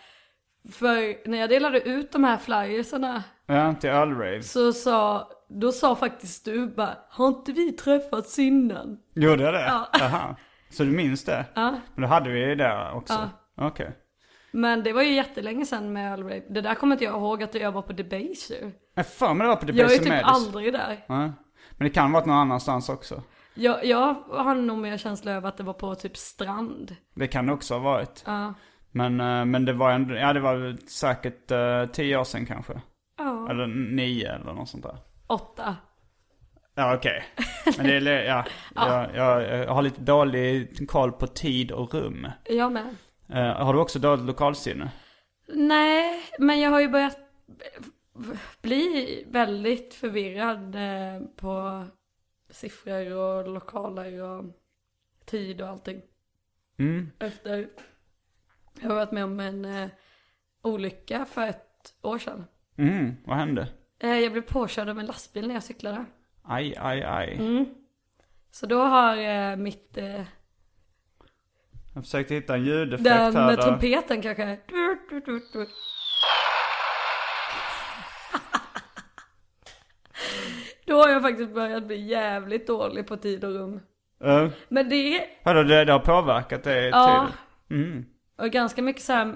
Speaker 2: För när jag delade ut de här flyersarna.
Speaker 1: Ja, till ölrave.
Speaker 2: Så sa, då sa faktiskt du bara, har inte vi träffats innan?
Speaker 1: Gjorde jag det? Aha. Så du minns det? Ja. Men då hade vi ju det också. Okej.
Speaker 2: Men det var ju jättelänge sedan med Earl Grey. Det där kommer inte jag ihåg att jag var på Debaser.
Speaker 1: Jag för mig det var på
Speaker 2: Jag är ju
Speaker 1: Debaser
Speaker 2: typ
Speaker 1: Medis.
Speaker 2: aldrig där.
Speaker 1: Nej. Men det kan ha varit någon annanstans också.
Speaker 2: Jag, jag har nog mer känsla över att det var på typ strand.
Speaker 1: Det kan det också ha varit. Men, eh, men det var ändå, ja det var säkert eh, tio år sedan kanske.
Speaker 2: Ja,
Speaker 1: Eller nio eller något sånt där.
Speaker 2: åtta.
Speaker 1: Ja okej. Men det är, le- ja, jag, jag, jag har lite dålig koll på tid och rum.
Speaker 2: Jag med.
Speaker 1: Eh, har du också dåligt lokalsinne?
Speaker 2: Nej, men jag har ju börjat bli väldigt förvirrad eh, på siffror och lokaler och tid och allting.
Speaker 1: Mm.
Speaker 2: Efter jag har varit med om en eh, olycka för ett år sedan.
Speaker 1: Mm, vad hände?
Speaker 2: Eh, jag blev påkörd av en lastbil när jag cyklade.
Speaker 1: Aj, aj, aj.
Speaker 2: Mm. Så då har eh, mitt, eh,
Speaker 1: Jag försökte hitta en ljudeffekt
Speaker 2: den
Speaker 1: här.
Speaker 2: med
Speaker 1: där.
Speaker 2: trumpeten kanske. Du, du, du, du. Då har jag faktiskt börjat bli jävligt dålig på tid och rum.
Speaker 1: Eh,
Speaker 2: Men det är
Speaker 1: Hörde du, det har påverkat dig
Speaker 2: Ja.
Speaker 1: eh, till...
Speaker 2: och ganska mycket så här.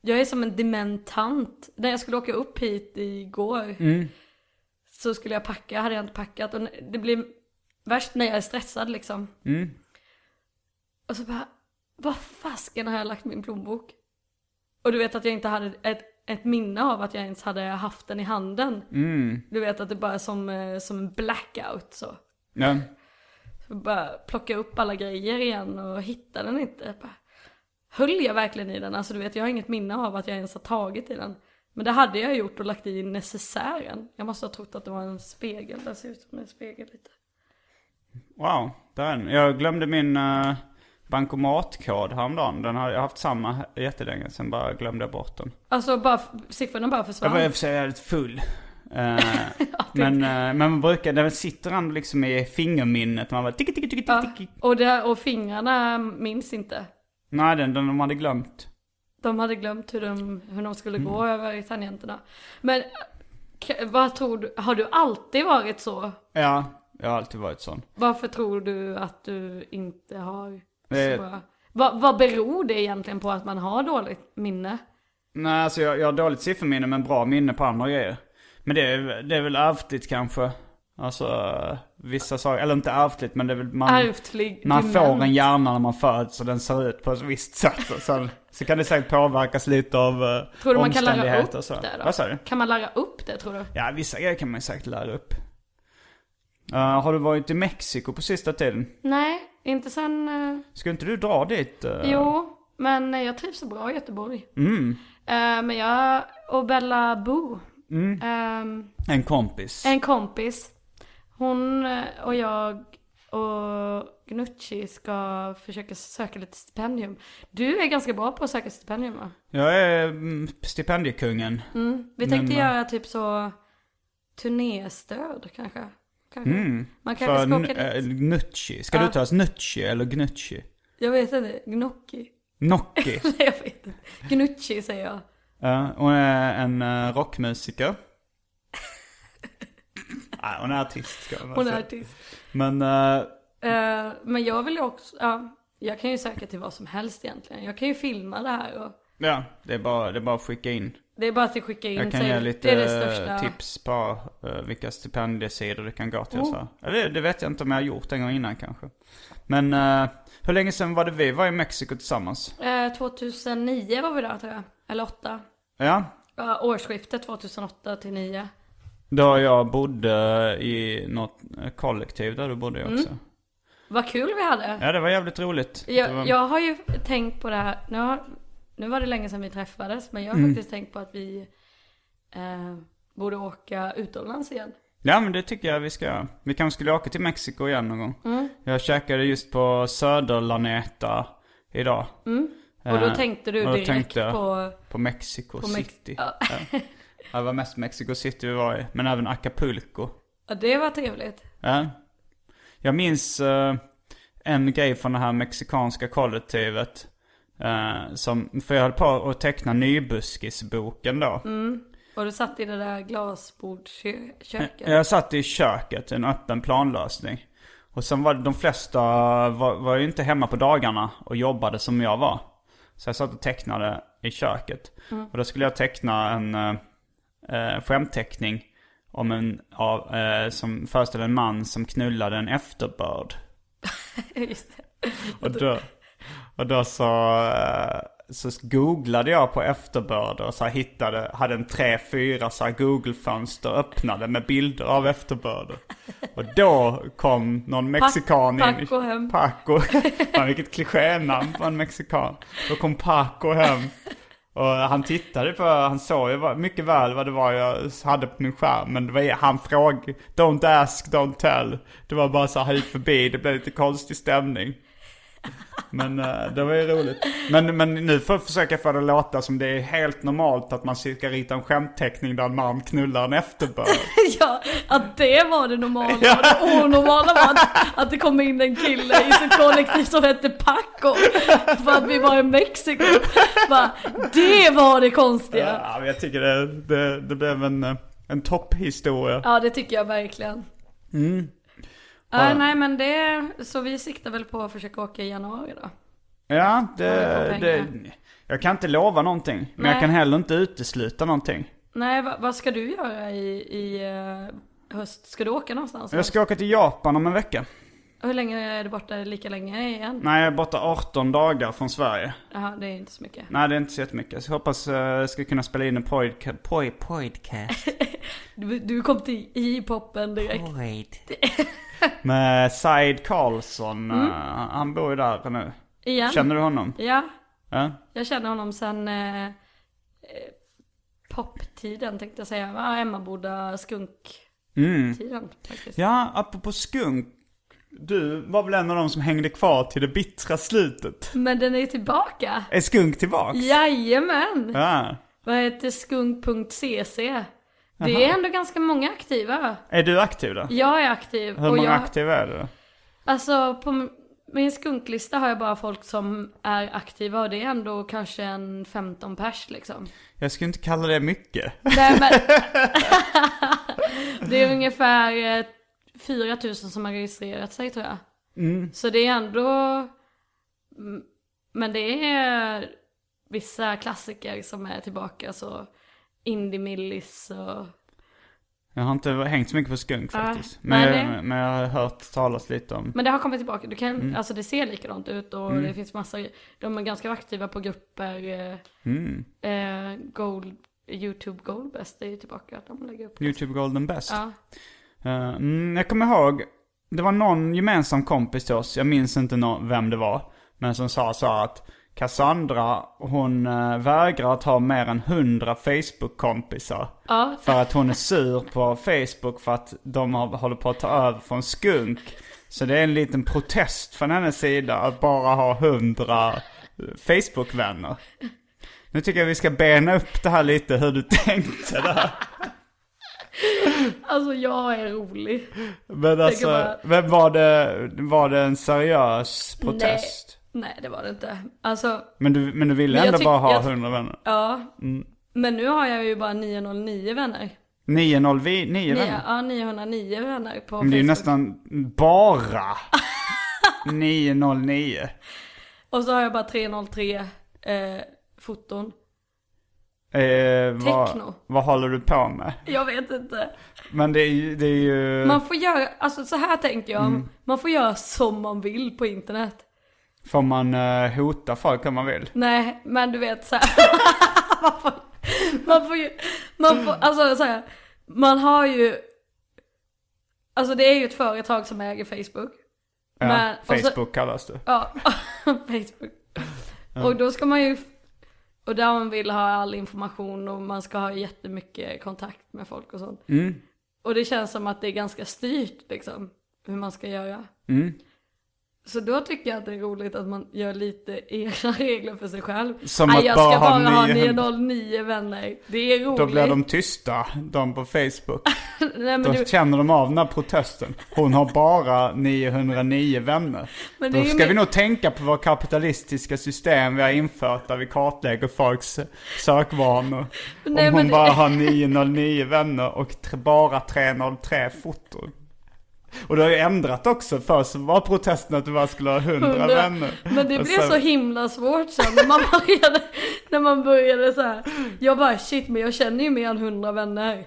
Speaker 2: Jag är som en dementant. När jag skulle åka upp hit igår så skulle jag packa, hade jag inte packat. Och det blir värst när jag är stressad liksom. Och så bara, vad fasken har jag lagt min plånbok? Och du vet att jag inte hade ett, ett minne av att jag ens hade haft den i handen. Du vet att det bara är som, eh, som en blackout så.
Speaker 1: Ja.
Speaker 2: Bara plocka upp alla grejer igen och hitta den inte. Bara, höll jag verkligen i den? Alltså du vet, jag har inget minne av att jag ens har tagit i den. Men det hade jag gjort och lagt i necessären. Jag måste ha trott att det var en spegel. Det ser ut som en spegel lite.
Speaker 1: Wow, där är den. Jag glömde min eh, bankomatkod häromdagen. Den har jag har haft samma jättelänge, sen bara glömde jag bort den.
Speaker 2: Alltså bara, f- siffrorna bara
Speaker 1: Jag
Speaker 2: försvann.
Speaker 1: var i och för sig väldigt full. Eh, men, eh, men man brukar, den sitter han liksom i fingerminnet. Man bara tiki, tiki, tiki, tiki,
Speaker 2: Ja,
Speaker 1: tiki.
Speaker 2: och, det, och fingrarna minns inte.
Speaker 1: Nej, den, den de hade glömt.
Speaker 2: De hade glömt hur de, hur de skulle gå över i tangenterna. Men k- vad tror du, har du alltid varit så?
Speaker 1: Ja, jag har alltid varit sån.
Speaker 2: Varför tror du att du inte har
Speaker 1: Eh.
Speaker 2: så bra? Vad, vad beror det egentligen på att man har dåligt minne?
Speaker 1: Nej, alltså jag, jag har dåligt sifferminne men bra minne på andra grejer. Men det är, det är väl ärftligt kanske. Alltså eh, vissa saker, eller inte ärftligt men det är väl man...
Speaker 2: Ärftlig
Speaker 1: Man får
Speaker 2: demens.
Speaker 1: en hjärna när man föds och den ser ut på ett visst sätt. Och sen, så kan det säkert påverkas lite av eh,
Speaker 2: Tror du man kan lära
Speaker 1: omständigheter.
Speaker 2: upp
Speaker 1: så.
Speaker 2: det då?
Speaker 1: Vad sa du?
Speaker 2: Kan man lära upp det tror du?
Speaker 1: Ja, vissa grejer kan man ju säkert lära upp. Eh, har du varit i Mexiko på sista tiden?
Speaker 2: Nej, inte sen... eh,
Speaker 1: Ska inte du dra dit? eh?
Speaker 2: Jo, men jag trivs så bra i Göteborg.
Speaker 1: Mm.
Speaker 2: Eh, men jag och Bella Bo,
Speaker 1: Mm.
Speaker 2: ehm,
Speaker 1: En kompis.
Speaker 2: en kompis, hon eh, och jag och Gnucci ska försöka söka lite stipendium. Du är ganska bra på att söka stipendium va?
Speaker 1: Jag är mm, stipendiekungen.
Speaker 2: Vi tänkte göra typ så turnéstöd kanske. kanske. Man kanske
Speaker 1: Mm. För
Speaker 2: ska åka dit.
Speaker 1: N- eh, Gnucci. Ska du ta oss Nucci eller Gnucci?
Speaker 2: Jag vet inte, Gnocchi?
Speaker 1: Nocchi.
Speaker 2: Nej jag vet inte. Gnucci säger jag.
Speaker 1: Ja, Eh, hon är en eh, rockmusiker. Nej, hon är artist ska man
Speaker 2: Hon är
Speaker 1: säga.
Speaker 2: artist.
Speaker 1: Men eh,
Speaker 2: Eh, men jag vill ju också, ja, jag kan ju söka till vad som helst egentligen. Jag kan ju filma det här och
Speaker 1: ja, det är, bara, det är bara att skicka in.
Speaker 2: det är bara att skicka in
Speaker 1: Jag kan
Speaker 2: sig.
Speaker 1: ge
Speaker 2: det
Speaker 1: lite
Speaker 2: är det största.
Speaker 1: eh, tips på eh, vilka stipendiesidor du kan gå till. och
Speaker 2: Oh.
Speaker 1: Så. Ja, det, det vet jag inte om jag har gjort en gång innan kanske. Men eh, hur länge sedan var det vi var i Mexiko tillsammans?
Speaker 2: Eh, 2009 var vi där tror jag, eller 8.
Speaker 1: Ja,
Speaker 2: Ja, årsskiftet 2008 till 9.
Speaker 1: då jag bodde i något eh, kollektiv där du bodde
Speaker 2: Mm.
Speaker 1: också.
Speaker 2: Vad kul vi hade.
Speaker 1: Ja, det var jävligt roligt. det var...
Speaker 2: Jag, jag har ju tänkt på det här, nu, har, nu var det länge sedan vi träffades, men jag har
Speaker 1: Mm.
Speaker 2: faktiskt tänkt på att vi eh, borde åka utomlands igen.
Speaker 1: Ja men det tycker jag vi ska göra. Vi kanske skulle åka till Mexiko igen någon gång.
Speaker 2: Mm.
Speaker 1: Jag käkade just på Söderlaneta idag.
Speaker 2: Mm. Och då
Speaker 1: Eh,
Speaker 2: tänkte du
Speaker 1: och då
Speaker 2: direkt
Speaker 1: tänkte jag
Speaker 2: på...
Speaker 1: På Mexico
Speaker 2: På Mex-
Speaker 1: City.
Speaker 2: Ja.
Speaker 1: Ja. Ja, det var mest Mexico City vi var i. Men även Acapulco.
Speaker 2: Ja, det var trevligt.
Speaker 1: Ja. Jag minns eh, en grej från det här mexikanska kollektivet. eh, som, för jag höll på att teckna nybuskisboken då.
Speaker 2: Och du satt i det där glasbordsköket.
Speaker 1: Eh, Jag satt i köket, en öppen planlösning. Och sen var det, de flesta var, var ju inte hemma på dagarna och jobbade som jag var. Så jag satt och tecknade i köket. Och då skulle jag teckna en eh, eh, skämtteckning om en, av, eh, som föreställer en man som knullade en efterbörd.
Speaker 2: Just det.
Speaker 1: Och då, och då så, eh, så googlade jag på efterbörder och så här hittade, hade en tre, fyra så här Google-fönster öppnade med bilder av efterbörder. Och då kom någon mexikan in.
Speaker 2: Paco hem.
Speaker 1: Paco. Fan vilket klichänamn på en mexikan. Då kom Paco hem. Och han tittade på, han såg ju vad- mycket väl vad det var jag hade på min skärm. Men det var, han frågade, don't ask, don't tell. Det var bara så här, han gick förbi, det blev lite konstig stämning. Men eh, det var ju roligt. Men, men nu får jag försöka få det att låta som det är helt normalt att man ska rita en skämtteckning där en man knullar en efterbörd.
Speaker 2: Ja, att det var det normala. Och det onormala var att, att det kom in en kille i sitt kollektiv som hette Paco. För att vi var i Mexiko. Bara, det var det konstiga.
Speaker 1: Ja, men jag tycker det, det, det blev en, eh, en topphistoria.
Speaker 2: Ja, det tycker jag verkligen. Mm. Ja, nej men det, så vi siktar väl på att försöka åka i januari då.
Speaker 1: Ja,
Speaker 2: Ja,
Speaker 1: det,
Speaker 2: det får
Speaker 1: det,
Speaker 2: pengar.
Speaker 1: jag kan inte lova någonting. Men jag
Speaker 2: Nej.
Speaker 1: kan heller inte utesluta någonting.
Speaker 2: Nej, va, vad ska du göra i, i eh, höst? Ska du åka någonstans?
Speaker 1: Jag ska åka till Japan om en vecka.
Speaker 2: Hur länge är du borta? Lika länge igen?
Speaker 1: Nej, jag är borta 18 dagar från Sverige.
Speaker 2: Jaha, det är inte så mycket.
Speaker 1: Nej, det är inte så jättemycket. Så jag hoppas eh, jag ska kunna spela in en podca- poj- podcast.
Speaker 2: Du, du kom till i poppen direkt.
Speaker 1: Med Said Karlsson.
Speaker 2: Mm.
Speaker 1: eh, han bor ju där nu.
Speaker 2: Igen?
Speaker 1: Känner du honom?
Speaker 2: Ja,
Speaker 1: Ja.
Speaker 2: jag känner honom sen eh, eh, poptiden tänkte jag säga. Ja, Emmaboda skunktiden
Speaker 1: Mm.
Speaker 2: faktiskt.
Speaker 1: Ja, apropå skunk. Du var väl en av de som hängde kvar till det bittra slutet?
Speaker 2: Men den är ju tillbaka!
Speaker 1: Är skunk tillbaks?
Speaker 2: Jajamän!
Speaker 1: Ja.
Speaker 2: Vad heter skunk.cc? Det är ändå ganska många aktiva.
Speaker 1: Är du aktiv då?
Speaker 2: Jag är aktiv.
Speaker 1: Hur många
Speaker 2: jag,
Speaker 1: aktiva är du då?
Speaker 2: Alltså på m- min skunklista har jag bara folk som är aktiva och det är ändå kanske en 15 pers liksom.
Speaker 1: Jag skulle inte kalla det mycket.
Speaker 2: Nej men. det är ungefär eh, 4000 som har registrerat sig tror jag. Så det är ändå. Mm, Men det är vissa klassiker som är tillbaka så. Indie Millis och.
Speaker 1: Jag har inte hängt så mycket på skunk faktiskt.
Speaker 2: nej,
Speaker 1: Men,
Speaker 2: det-
Speaker 1: jag, men jag har hört talas lite om.
Speaker 2: Men det har kommit tillbaka. Du kan, Alltså det ser likadant ut och det finns massa. De är ganska aktiva på grupper. eh, Eh, gold, Youtube Goldbest är ju tillbaka. De lägger upp.
Speaker 1: YouTube Golden Best.
Speaker 2: Ja.
Speaker 1: Eh, mm, jag kommer ihåg, det var någon gemensam kompis till oss, jag minns inte nå- vem det var. Men som sa så här att Cassandra, hon eh, vägrar att ha mer än 100 Facebook-kompisar.
Speaker 2: Ja,
Speaker 1: För att hon är sur på Facebook för att de har, håller på att ta över från skunk. Så det är en liten protest från hennes sida att bara ha 100 Facebook-vänner. Nu tycker jag vi ska bena upp det här lite, hur du tänkte där.
Speaker 2: Alltså jag är rolig.
Speaker 1: Men alltså,
Speaker 2: bara-
Speaker 1: vem var det, var det en seriös protest?
Speaker 2: Nej, det var det inte. Alltså,
Speaker 1: Men du, men du ville
Speaker 2: Men jag
Speaker 1: ändå
Speaker 2: tyck-
Speaker 1: bara ha
Speaker 2: jag-
Speaker 1: 100 vänner?
Speaker 2: ja.
Speaker 1: Mm.
Speaker 2: Men nu har jag ju bara 909 vänner.
Speaker 1: 909
Speaker 2: Nio-
Speaker 1: vänner?
Speaker 2: Ja, 909 vänner på
Speaker 1: Men det är ju
Speaker 2: Facebook.
Speaker 1: nästan bara 909.
Speaker 2: Och så har jag bara 303 eh, foton.
Speaker 1: Eh,
Speaker 2: Techno.
Speaker 1: vad, vad håller du på med?
Speaker 2: Jag vet inte.
Speaker 1: Men det är ju... Det är ju
Speaker 2: Man får göra, alltså så här tänker jag.
Speaker 1: Mm.
Speaker 2: Man får göra som man vill på internet.
Speaker 1: Får man eh, hota folk om man vill?
Speaker 2: Nej, men du vet så här. man, får, man får ju, man får, alltså så här, man har ju, alltså det är ju ett företag som äger Facebook.
Speaker 1: Ja,
Speaker 2: Men- och så-
Speaker 1: Facebook kallas det.
Speaker 2: Ja, Facebook. Och då ska man ju, och där man vill ha all information och man ska ha jättemycket kontakt med folk och sånt.
Speaker 1: Mm.
Speaker 2: Och det känns som att det är ganska styrt liksom, hur man ska göra.
Speaker 1: Mm.
Speaker 2: Så då tycker jag att det är roligt att man gör lite egna regler för sig själv.
Speaker 1: Som
Speaker 2: Nej,
Speaker 1: att
Speaker 2: jag
Speaker 1: bara
Speaker 2: ska bara
Speaker 1: ha
Speaker 2: ha
Speaker 1: 900.
Speaker 2: 909 vänner. Det är roligt.
Speaker 1: Då blir de tysta, de på Facebook.
Speaker 2: Nej, men
Speaker 1: Då
Speaker 2: du,
Speaker 1: känner de av den här protesten. Hon har bara 909 vänner.
Speaker 2: Men det är
Speaker 1: Då
Speaker 2: ju
Speaker 1: ska
Speaker 2: min-
Speaker 1: vi nog tänka på våra kapitalistiska system vi har infört där vi kartlägger folks sökvanor.
Speaker 2: Nej,
Speaker 1: Om
Speaker 2: men
Speaker 1: hon
Speaker 2: det-
Speaker 1: bara har 909 vänner och tr- bara 303 foton. Och du har ju ändrat också. Först var protesten att du bara skulle ha 100,
Speaker 2: 100.
Speaker 1: vänner.
Speaker 2: Men det
Speaker 1: Och
Speaker 2: blev så himla svårt sen när man började, när man började så här. Jag bara shit men jag känner ju mer än 100 vänner.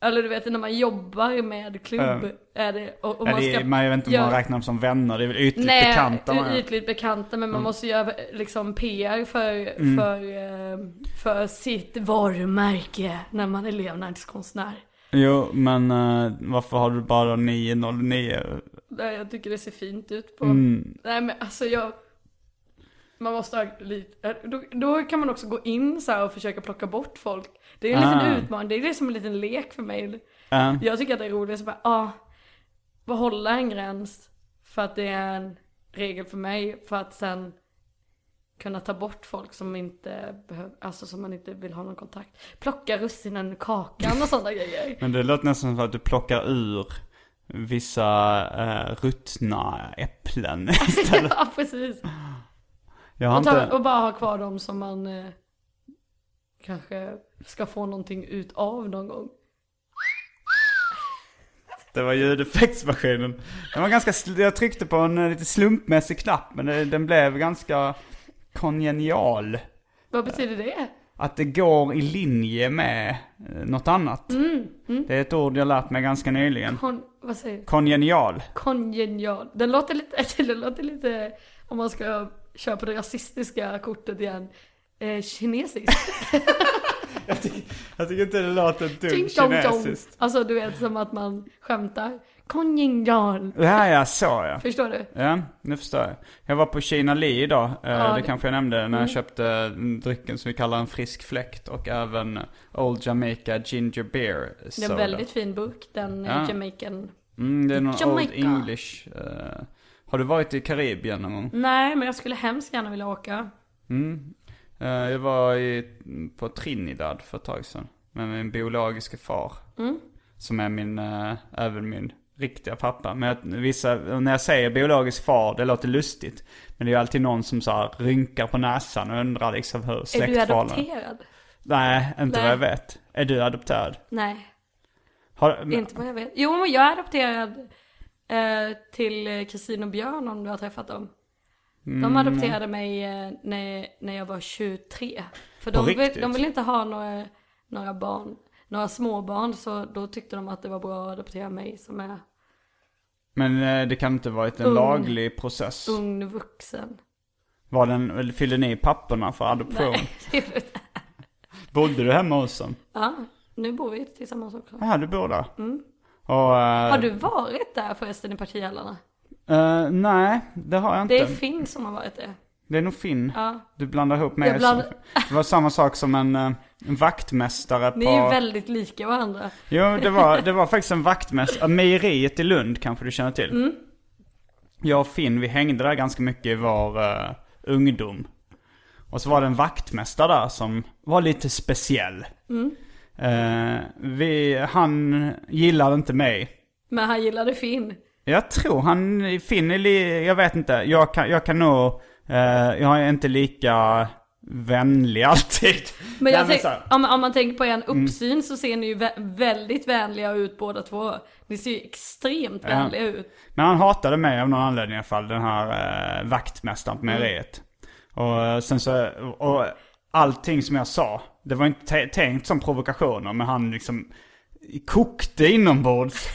Speaker 2: Eller du vet när man jobbar med klubb.
Speaker 1: Ja.
Speaker 2: Är det, och, och
Speaker 1: Ja,
Speaker 2: man
Speaker 1: det
Speaker 2: ska
Speaker 1: är, man, jag vet inte om man
Speaker 2: göra-
Speaker 1: räknar dem som vänner, det är väl ytligt
Speaker 2: Nej,
Speaker 1: bekanta man är. Mm.
Speaker 2: ytligt bekanta men man måste göra liksom PR för, för, eh, för sitt varumärke när man är levnadskonstnär.
Speaker 1: Jo, men eh, varför har du bara 909?
Speaker 2: Nej, jag tycker det ser fint ut på. Nej men alltså jag... Man måste ha lite... Då, då kan man också gå in så här och försöka plocka bort folk. Det är en
Speaker 1: Ah.
Speaker 2: liten utmaning, det är liksom en liten lek för mig.
Speaker 1: Ja.
Speaker 2: Jag tycker att det är roligt att bara, ah, bara hålla en gräns. För att det är en regel för mig. För att sen kunna ta bort folk som inte behöver, alltså som man inte vill ha någon kontakt. Plocka russinen ur kakan och sådana grejer.
Speaker 1: Men det låter nästan som att du plockar ur vissa eh, ruttna äpplen.
Speaker 2: ja precis.
Speaker 1: Jag har
Speaker 2: Och, ta,
Speaker 1: inte...
Speaker 2: och bara ha kvar dem som man eh, kanske ska få någonting ut av någon gång.
Speaker 1: Det var ljudeffektsmaskinen. Den var ganska... sl- Jag tryckte på en eh, lite eh, slumpmässig knapp, men det, den blev ganska kongenial.
Speaker 2: Vad betyder det?
Speaker 1: att det går i linje med eh, något annat.
Speaker 2: Mm,
Speaker 1: Det är ett ord jag lärt mig ganska nyligen.
Speaker 2: Kon, vad säger du?
Speaker 1: Kongenial.
Speaker 2: Kongenial. Den låter lite, den låter lite, om man ska köra på det rasistiska kortet igen, eh, kinesiskt.
Speaker 1: Jag tycker inte det låter ett dugg
Speaker 2: Ding dong dong.
Speaker 1: kinesiskt.
Speaker 2: Alltså du vet som att man skämtar. Kongenial.
Speaker 1: Det här ja, så ja.
Speaker 2: Förstår du?
Speaker 1: Ja, nu förstår jag. Jag var på Kina Li idag, eh, det
Speaker 2: det-
Speaker 1: kanske jag nämnde, när
Speaker 2: mm.
Speaker 1: jag köpte eh, drycken som vi kallar en frisk fläkt och även Old Jamaica Ginger Beer
Speaker 2: Det är
Speaker 1: Soda.
Speaker 2: en väldigt fin burk, den
Speaker 1: Ja.
Speaker 2: ja. Jamaican.
Speaker 1: mm, det är någon Old
Speaker 2: Jamaica.
Speaker 1: English. eh. har du varit i Karibien någon gång?
Speaker 2: Nej, men jag skulle hemskt gärna vilja åka.
Speaker 1: Eh, jag var i, på Trinidad för ett tag sedan med min biologiska far.
Speaker 2: Mm.
Speaker 1: Som är min, eh, även min riktiga pappa. Men jag, vissa, när jag säger biologisk far, det låter lustigt. Men det är ju alltid någon som så här rynkar på näsan och undrar liksom hur
Speaker 2: Är du
Speaker 1: släktförhållanden...
Speaker 2: adopterad?
Speaker 1: Nej, inte
Speaker 2: Nej.
Speaker 1: vad jag vet. Är du adopterad?
Speaker 2: Nej,
Speaker 1: Har, men,
Speaker 2: inte vad jag vet. Jo, men jag är adopterad eh, till eh, Kristin och Björn om du har träffat dem.
Speaker 1: Mm.
Speaker 2: De adopterade mig eh, när, när jag var 23. För de, vill,
Speaker 1: riktigt?
Speaker 2: de ville inte ha några, några barn, några småbarn. Så då tyckte de att det var bra att adoptera mig som är
Speaker 1: men eh, det kan inte varit en
Speaker 2: Ung.
Speaker 1: laglig process.
Speaker 2: ung vuxen.
Speaker 1: Var den, eller fyllde ni i papperna för adoption? Bodde du hemma hos dem?
Speaker 2: ja, nu bor vi tillsammans också.
Speaker 1: Ja, du bor där. Och, eh,
Speaker 2: Mm. Har du varit där förresten i Partihällarna?
Speaker 1: Eh, nej, det har jag inte.
Speaker 2: Det är Finn som har varit det.
Speaker 1: nog Finn. Du blandar ihop
Speaker 2: Jag
Speaker 1: med
Speaker 2: bland-
Speaker 1: Det var samma sak som en, eh, en vaktmästare
Speaker 2: Ni
Speaker 1: på...
Speaker 2: är ju väldigt lika varandra.
Speaker 1: Jo, det var, det var faktiskt en vaktmästare. Mejeriet i Lund kanske du känner till.
Speaker 2: Mm.
Speaker 1: Jag och Finn, vi hängde där ganska mycket i vår eh, ungdom. Och så var det en vaktmästare där som var lite speciell.
Speaker 2: Mm.
Speaker 1: Eh, vi, han gillade inte mig.
Speaker 2: Men han gillade Finn.
Speaker 1: Jag tror han, Finn är li, jag vet inte. Jag kan, jag kan nog, eh, jag är inte lika vänlig alltid.
Speaker 2: Men jag tänk,
Speaker 1: så här, Mm.
Speaker 2: om, om man tänker på en uppsyn så ser ni ju vä- väldigt vänliga ut båda två. Ni ser ju extremt vänliga ut.
Speaker 1: men han hatade mig av någon anledning i alla fall, den här eh, vaktmästaren på mejeriet. Och eh, sen så, och allting som jag sa, det var inte te- tänkt som provokationer men han liksom kokte inombords.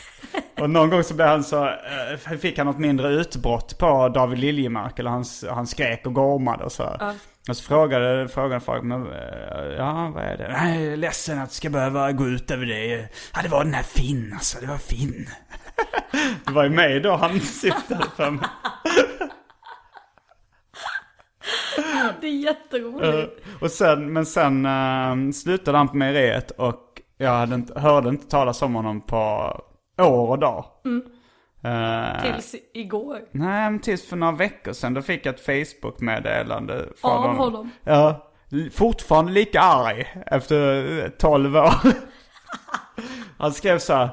Speaker 1: Och någon gång så blev han så, eh, fick han något mindre utbrott på David Liljemark, eller han, han skrek och gormade och så. här. Och så frågade, frågade folk, men, eh, ja vad är det? Nej, jag är ledsen att det ska behöva gå ut över dig. Ja, det var den här Finn alltså, det var Finn. det var ju mig då han syftade på. mig.
Speaker 2: Det är jätteroligt.
Speaker 1: Och sen, men sen eh, slutade han på mejeriet och jag hade inte, hörde inte talas om honom på år och dag. Eh,
Speaker 2: Tills igår.
Speaker 1: Nej, men tills för några veckor sedan då fick jag ett Facebook-meddelande från
Speaker 2: Av honom?
Speaker 1: Ja. L- Fortfarande lika arg efter eh, 12 år. Han skrev så här.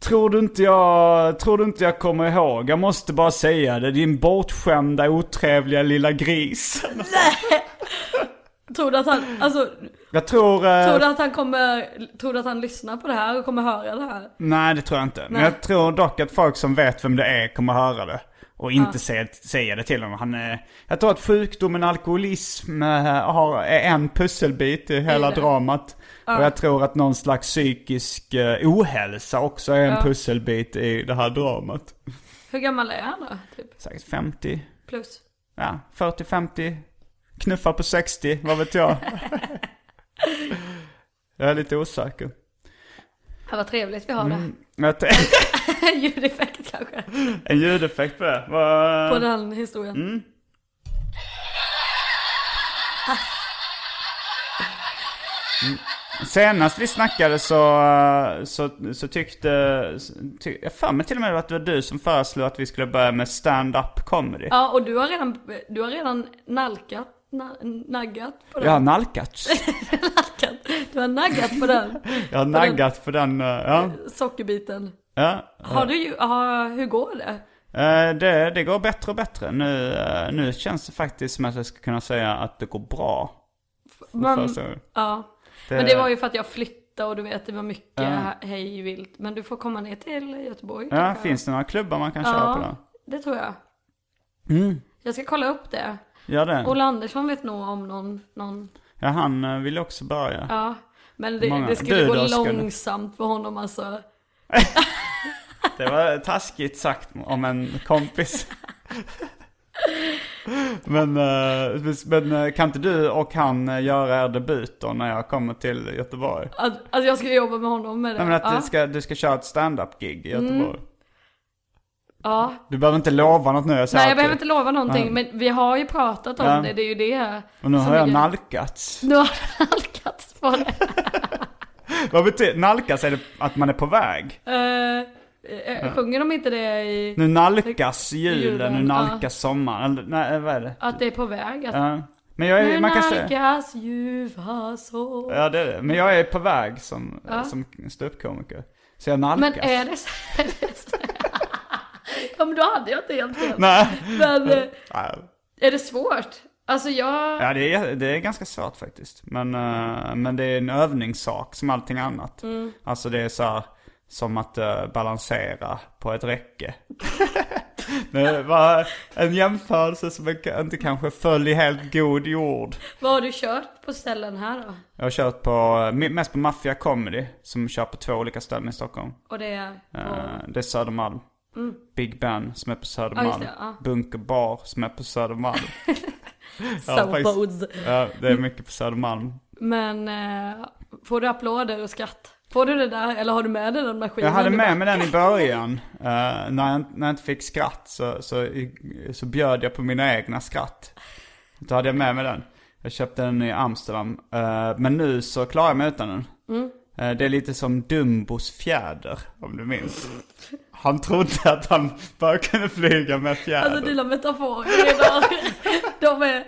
Speaker 1: Tror du, inte jag, tror du inte jag kommer ihåg? Jag måste bara säga det. Din bortskämda otrevliga lilla gris.
Speaker 2: Tror du att han, alltså,
Speaker 1: Jag tror... eh,
Speaker 2: tror du att han kommer, tror du att han lyssnar på det här och kommer höra det här?
Speaker 1: Nej, det tror jag inte. Men
Speaker 2: Nej.
Speaker 1: jag tror dock att folk som vet vem det är kommer höra det. Och inte säga, säga det till honom. Han, eh, jag tror att sjukdomen alkoholism eh, har, är en pusselbit i hela
Speaker 2: det.
Speaker 1: dramat. Och jag tror att någon slags psykisk eh, ohälsa också är en pusselbit i det här dramat.
Speaker 2: Hur gammal är han då? Typ.
Speaker 1: Säkert 50,
Speaker 2: Plus.
Speaker 1: ja 40-50, knuffar på 60, vad vet jag. jag är lite osäker.
Speaker 2: Ja, vad trevligt vi har
Speaker 1: Jag tänker-
Speaker 2: det.
Speaker 1: Mm.
Speaker 2: Ljudeffekt kanske.
Speaker 1: en ljudeffekt på det. Vad-
Speaker 2: På den historien.
Speaker 1: Mm. Senast vi snackade så, så, så tyckte, ty, jag för mig till och med att det var du som föreslog att vi skulle börja med stand-up comedy.
Speaker 2: Ja, och du har redan, du har redan nalkat, na, naggat på den.
Speaker 1: Jag har naggats.
Speaker 2: Nalkat. Du har naggat på den
Speaker 1: Jag har naggat på den, eh, ja.
Speaker 2: sockerbiten.
Speaker 1: ja.
Speaker 2: Har du ju, aha, hur går det?
Speaker 1: Eh, Det, det går bättre och bättre. Nu, eh, nu känns det faktiskt som att jag ska kunna säga att det går bra.
Speaker 2: Men,
Speaker 1: Första gången.
Speaker 2: ja. men
Speaker 1: Eh.
Speaker 2: det var ju för att jag flyttade och du vet det var mycket hej vilt. Men du får komma ner till Göteborg
Speaker 1: Ja, finns det några klubbar man kan köra på då? Mm.
Speaker 2: det tror jag. Jag ska kolla upp det.
Speaker 1: Gör det.
Speaker 2: Ola Andersson vet nog om någon, någon
Speaker 1: Ja, han eh, ville också börja.
Speaker 2: Ja, men det,
Speaker 1: Många.
Speaker 2: det skulle
Speaker 1: Du
Speaker 2: gå
Speaker 1: då, skulle-
Speaker 2: långsamt för honom alltså.
Speaker 1: Det var taskigt sagt om en kompis. Men, eh, vis- men eh, kan inte du och han eh, göra er debut då när jag kommer till Göteborg?
Speaker 2: Att, att jag skulle jobba med honom med det.
Speaker 1: Nej men att
Speaker 2: ja. Mm.
Speaker 1: du, ska, du ska köra ett stand-up-gig i Göteborg.
Speaker 2: ja.
Speaker 1: Du behöver inte lova något nu, jag säger
Speaker 2: Nej jag
Speaker 1: att
Speaker 2: behöver
Speaker 1: du-
Speaker 2: inte lova någonting, men vi har ju pratat om
Speaker 1: Ja.
Speaker 2: det, det är ju det.
Speaker 1: Och nu
Speaker 2: som
Speaker 1: har
Speaker 2: är
Speaker 1: jag
Speaker 2: grejen.
Speaker 1: nalkats.
Speaker 2: Nu har jag nalkats på det.
Speaker 1: Vad betyder, nalkas är det att man är på väg.
Speaker 2: Eh, eh, sjunger de inte det i...
Speaker 1: Nu nalkas julen,
Speaker 2: Julen,
Speaker 1: nu
Speaker 2: ja.
Speaker 1: nalkas sommaren. Eller, nej, vad är det?
Speaker 2: Att det är på väg? Att,
Speaker 1: Ja. Men jag är,
Speaker 2: Nu
Speaker 1: man kan säga...
Speaker 2: nalkas ljuva sol.
Speaker 1: Ja det är det. Men jag är på väg som, som ståuppkomiker. Så jag nalkas.
Speaker 2: Men är det så? Är det så? ja men då hade jag inte helt fel.
Speaker 1: Nej.
Speaker 2: Men eh,
Speaker 1: Nej.
Speaker 2: är det svårt? Alltså jag...
Speaker 1: Ja, det är, det är ganska svårt faktiskt. Men, eh, men det är en övningssak som allting annat.
Speaker 2: Mm.
Speaker 1: Alltså det är så här, som att eh, balansera på ett räcke. det var en jämförelse som jag ka- inte kanske föll i helt god jord.
Speaker 2: Vad har du kört på ställen här då?
Speaker 1: Jag har kört på, eh, mest på Mafia Comedy, som kör på två olika ställen i Stockholm.
Speaker 2: Och det är...
Speaker 1: Eh, Det är Södermalm. Big Ben som är på
Speaker 2: Mm. Ja,
Speaker 1: Södermalm.
Speaker 2: just det, ja.
Speaker 1: Bunker Bar som är på Södermalm.
Speaker 2: och
Speaker 1: ja, faktiskt.
Speaker 2: soundboards.
Speaker 1: Ja, det är mycket på Södermalm.
Speaker 2: Men eh, får du applåder och skratt? Får du det där eller har du med dig den maskinen?
Speaker 1: Jag hade
Speaker 2: Du bara-
Speaker 1: med mig den i början. Eh, när, jag, när jag inte fick skratt så, så, så bjöd jag på mina egna skratt. Då hade jag med mig den. Jag köpte den i Amsterdam. Eh, men nu så klarar jag mig utan den.
Speaker 2: Mm.
Speaker 1: Eh, det är lite som Dumbos fjäder, om du minns. Han trodde att han bara kunde flyga med fjäder.
Speaker 2: Alltså dina metaforer idag. de är...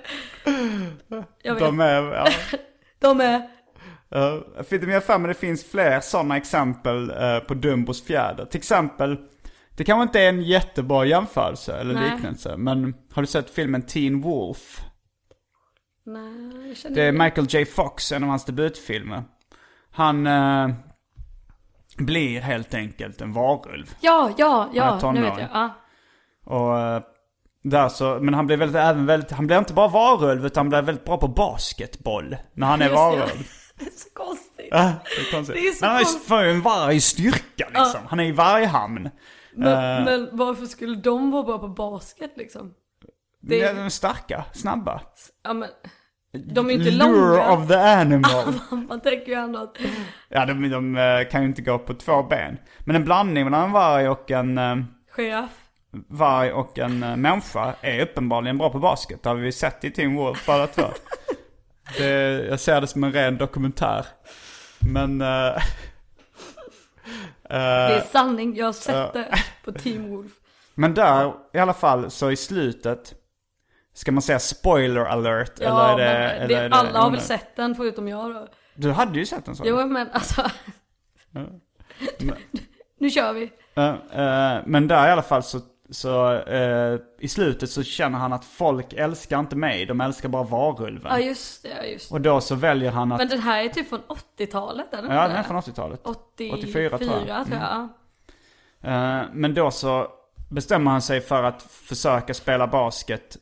Speaker 2: Jag vet.
Speaker 1: De är, ja.
Speaker 2: De är...
Speaker 1: Uh, men jag har för mig det finns fler sådana exempel eh, på Dumbos fjäder. Till exempel, det kanske inte är en jättebra jämförelse eller
Speaker 2: Nej.
Speaker 1: liknelse, men har du sett filmen Teen Wolf?
Speaker 2: Nej, jag känner
Speaker 1: Det är
Speaker 2: inte-
Speaker 1: Michael J. Fox, en av hans debutfilmer. Han eh, blir helt enkelt en varulv.
Speaker 2: Ja, ja,
Speaker 1: Han är
Speaker 2: ja. Nu
Speaker 1: tonåring.
Speaker 2: vet jag. Ja.
Speaker 1: Och eh, där så, men han blir väldigt, även väldigt, han blir inte bara varulv utan han blir väldigt bra på basketboll när han är
Speaker 2: Just det, ja.
Speaker 1: varulv.
Speaker 2: Det är så konstigt.
Speaker 1: Ja, det är konstigt.
Speaker 2: Det är så
Speaker 1: Men han är ju
Speaker 2: konstigt.
Speaker 1: för en vargstyrka liksom. Han är i varghamn. Eh.
Speaker 2: Men, men varför skulle de vara bra på basket liksom?
Speaker 1: Det...
Speaker 2: Det
Speaker 1: Ja,
Speaker 2: är,
Speaker 1: de är starka, snabba.
Speaker 2: ja, men, de är ju inte
Speaker 1: Lure
Speaker 2: långa.
Speaker 1: of the animal.
Speaker 2: Man tänker ju ändå att...
Speaker 1: ja, de, de eh, kan ju inte gå på två ben. Men en blandning mellan en varg och en eh,
Speaker 2: Chef.
Speaker 1: varg och en eh, människa är uppenbarligen bra på basket. Det har vi sett i Teen Wolf båda två. Det, jag ser det som en ren dokumentär. Men... eh,
Speaker 2: Det är sanning, jag har sett det på Team Wolf.
Speaker 1: Men där, i alla fall, så i slutet Ska man säga spoiler alert?
Speaker 2: Ja,
Speaker 1: eller är det,
Speaker 2: men
Speaker 1: eller
Speaker 2: det,
Speaker 1: är det
Speaker 2: alla har väl
Speaker 1: onödigt?
Speaker 2: sett den förutom jag då.
Speaker 1: Du hade ju sett en sån.
Speaker 2: Jo men alltså. nu kör vi.
Speaker 1: Eh, eh, men där i alla fall så, så eh, i slutet så känner han att folk älskar inte mig, de älskar bara varulven.
Speaker 2: Ja just det, ja, just det.
Speaker 1: Och då så väljer han att...
Speaker 2: Men den här är typ från 80-talet eller?
Speaker 1: ja, den är från 80-talet.
Speaker 2: 84 tror jag.
Speaker 1: Mm.
Speaker 2: ja.
Speaker 1: Eh, men då så bestämmer han sig för att försöka spela basket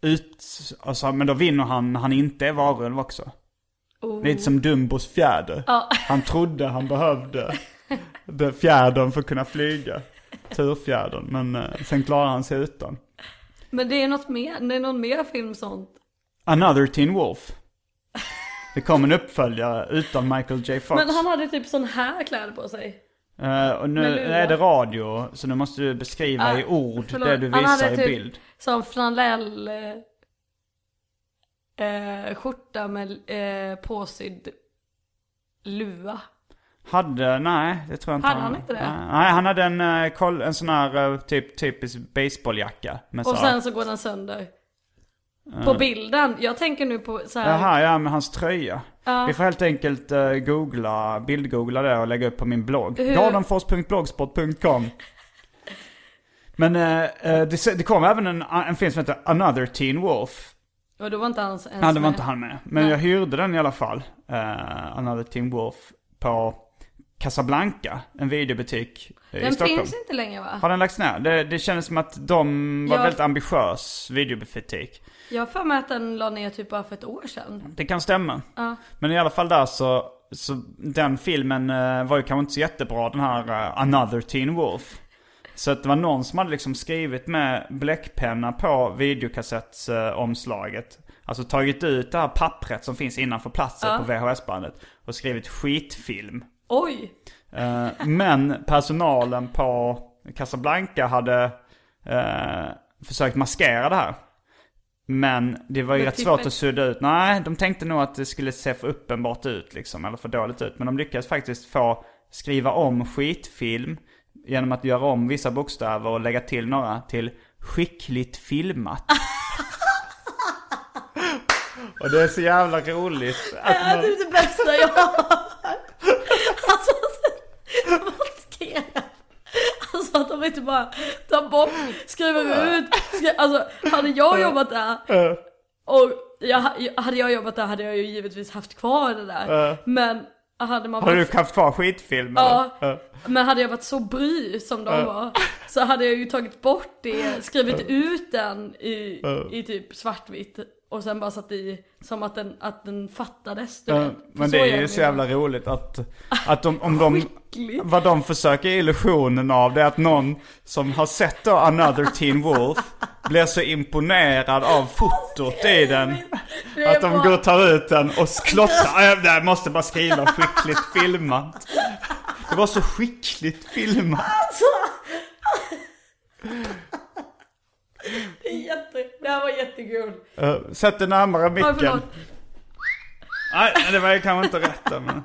Speaker 1: ut, alltså, men då vinner han när han inte är varulv också.
Speaker 2: Oh.
Speaker 1: Lite som Dumbos fjäder. Han trodde han behövde den fjädern för att kunna flyga. Turfjädern, men eh, sen klarar han sig utan.
Speaker 2: Men det är något mer, det är någon mer film sånt.
Speaker 1: Another Teen Wolf. Det kom en uppföljare utan Michael J. Fox.
Speaker 2: Men han hade typ sån här kläder på sig.
Speaker 1: Eh, och nu
Speaker 2: Men nu då?
Speaker 1: är det radio, så nu måste du beskriva i ord
Speaker 2: Ah, Förlåt,
Speaker 1: det du
Speaker 2: han
Speaker 1: visar
Speaker 2: hade
Speaker 1: i
Speaker 2: typ
Speaker 1: bild.
Speaker 2: Sån flanell... Eh, eh, skjorta med eh, påsydd luva.
Speaker 1: Hade, nej det tror jag inte
Speaker 2: Hade han inte det?
Speaker 1: Nej, han hade en, eh, koll, en sån här eh, typ, typisk baseballjacka. Med
Speaker 2: Och
Speaker 1: så här-
Speaker 2: sen så går den sönder. På bilden. Jag tänker nu på så här.
Speaker 1: Jaha, ja med hans tröja. Vi får helt enkelt eh, googla, bildgoogla det och lägga upp på min blogg. Dardenfors.blogspot.com Men eh, eh, det, se- det kom även en, en film som heter Another Teen Wolf.
Speaker 2: Och då var inte han ens
Speaker 1: Nej, det var
Speaker 2: med.
Speaker 1: Eh, inte han med. Men jag hyrde den i alla fall. Uh, Another Teen Wolf på Casablanca, en videobutik eh, i
Speaker 2: Den
Speaker 1: Stockholm.
Speaker 2: finns inte längre va?
Speaker 1: Har den lagts ner? Det, det kändes som att de var
Speaker 2: Ja.
Speaker 1: väldigt ambitiös videobutik.
Speaker 2: Jag har för mig att den la ner typ bara för ett år sedan.
Speaker 1: Det kan stämma. Men i alla fall där så, så den filmen eh, var ju kanske inte så jättebra, den här eh, Another Teen Wolf. Så att det var någon som hade liksom skrivit med bläckpenna på videokassettsomslaget. Eh, omslaget. alltså tagit ut det här pappret som finns innanför platsen på VHS-bandet och skrivit skitfilm.
Speaker 2: Oj!
Speaker 1: Eh, men personalen på Casablanca hade eh, försökt maskera det här. Men det var ju
Speaker 2: Med
Speaker 1: rätt
Speaker 2: pippet.
Speaker 1: svårt att sudda ut. Nej, de tänkte nog att det skulle se för uppenbart ut liksom, eller för dåligt ut. Men de lyckades faktiskt få skriva om skitfilm genom att göra om vissa bokstäver och lägga till några till skickligt filmat. och det är så jävla roligt. Att
Speaker 2: Det är
Speaker 1: man...
Speaker 2: typ det bästa jag har Alltså, maskera. Alltså att de inte bara tar bort, skriver ut. Skri... Alltså hade jag jobbat där och jag, hade jag jobbat där hade jag ju givetvis haft kvar det där. Men hade man
Speaker 1: Har du
Speaker 2: varit-
Speaker 1: haft kvar skitfilm?
Speaker 2: Ja,
Speaker 1: eller?
Speaker 2: men hade jag varit så bry som de var så hade jag ju tagit bort det, skrivit ut den i, i typ svartvitt och sen bara satt i som att den, att den fattades. Du
Speaker 1: Ja,
Speaker 2: vet. För
Speaker 1: Men det
Speaker 2: gör
Speaker 1: är
Speaker 2: de
Speaker 1: ju så jävla roligt att, att de, om de,
Speaker 2: Skickligt.
Speaker 1: vad de försöker illusionen av det är att någon som har sett då Another Teen Wolf blir så imponerad av fotot i den.
Speaker 2: Det är
Speaker 1: Att de
Speaker 2: bara-
Speaker 1: går och tar ut den och klottrar. Jag där måste bara skriva skickligt filmat. Det var så skickligt filmat.
Speaker 2: Det, är jätte, det här var jättekul.
Speaker 1: Eh, Sätt dig närmare
Speaker 2: Ja,
Speaker 1: micken.
Speaker 2: förlåt.
Speaker 1: Nej, det var ju kanske inte rätt där, men...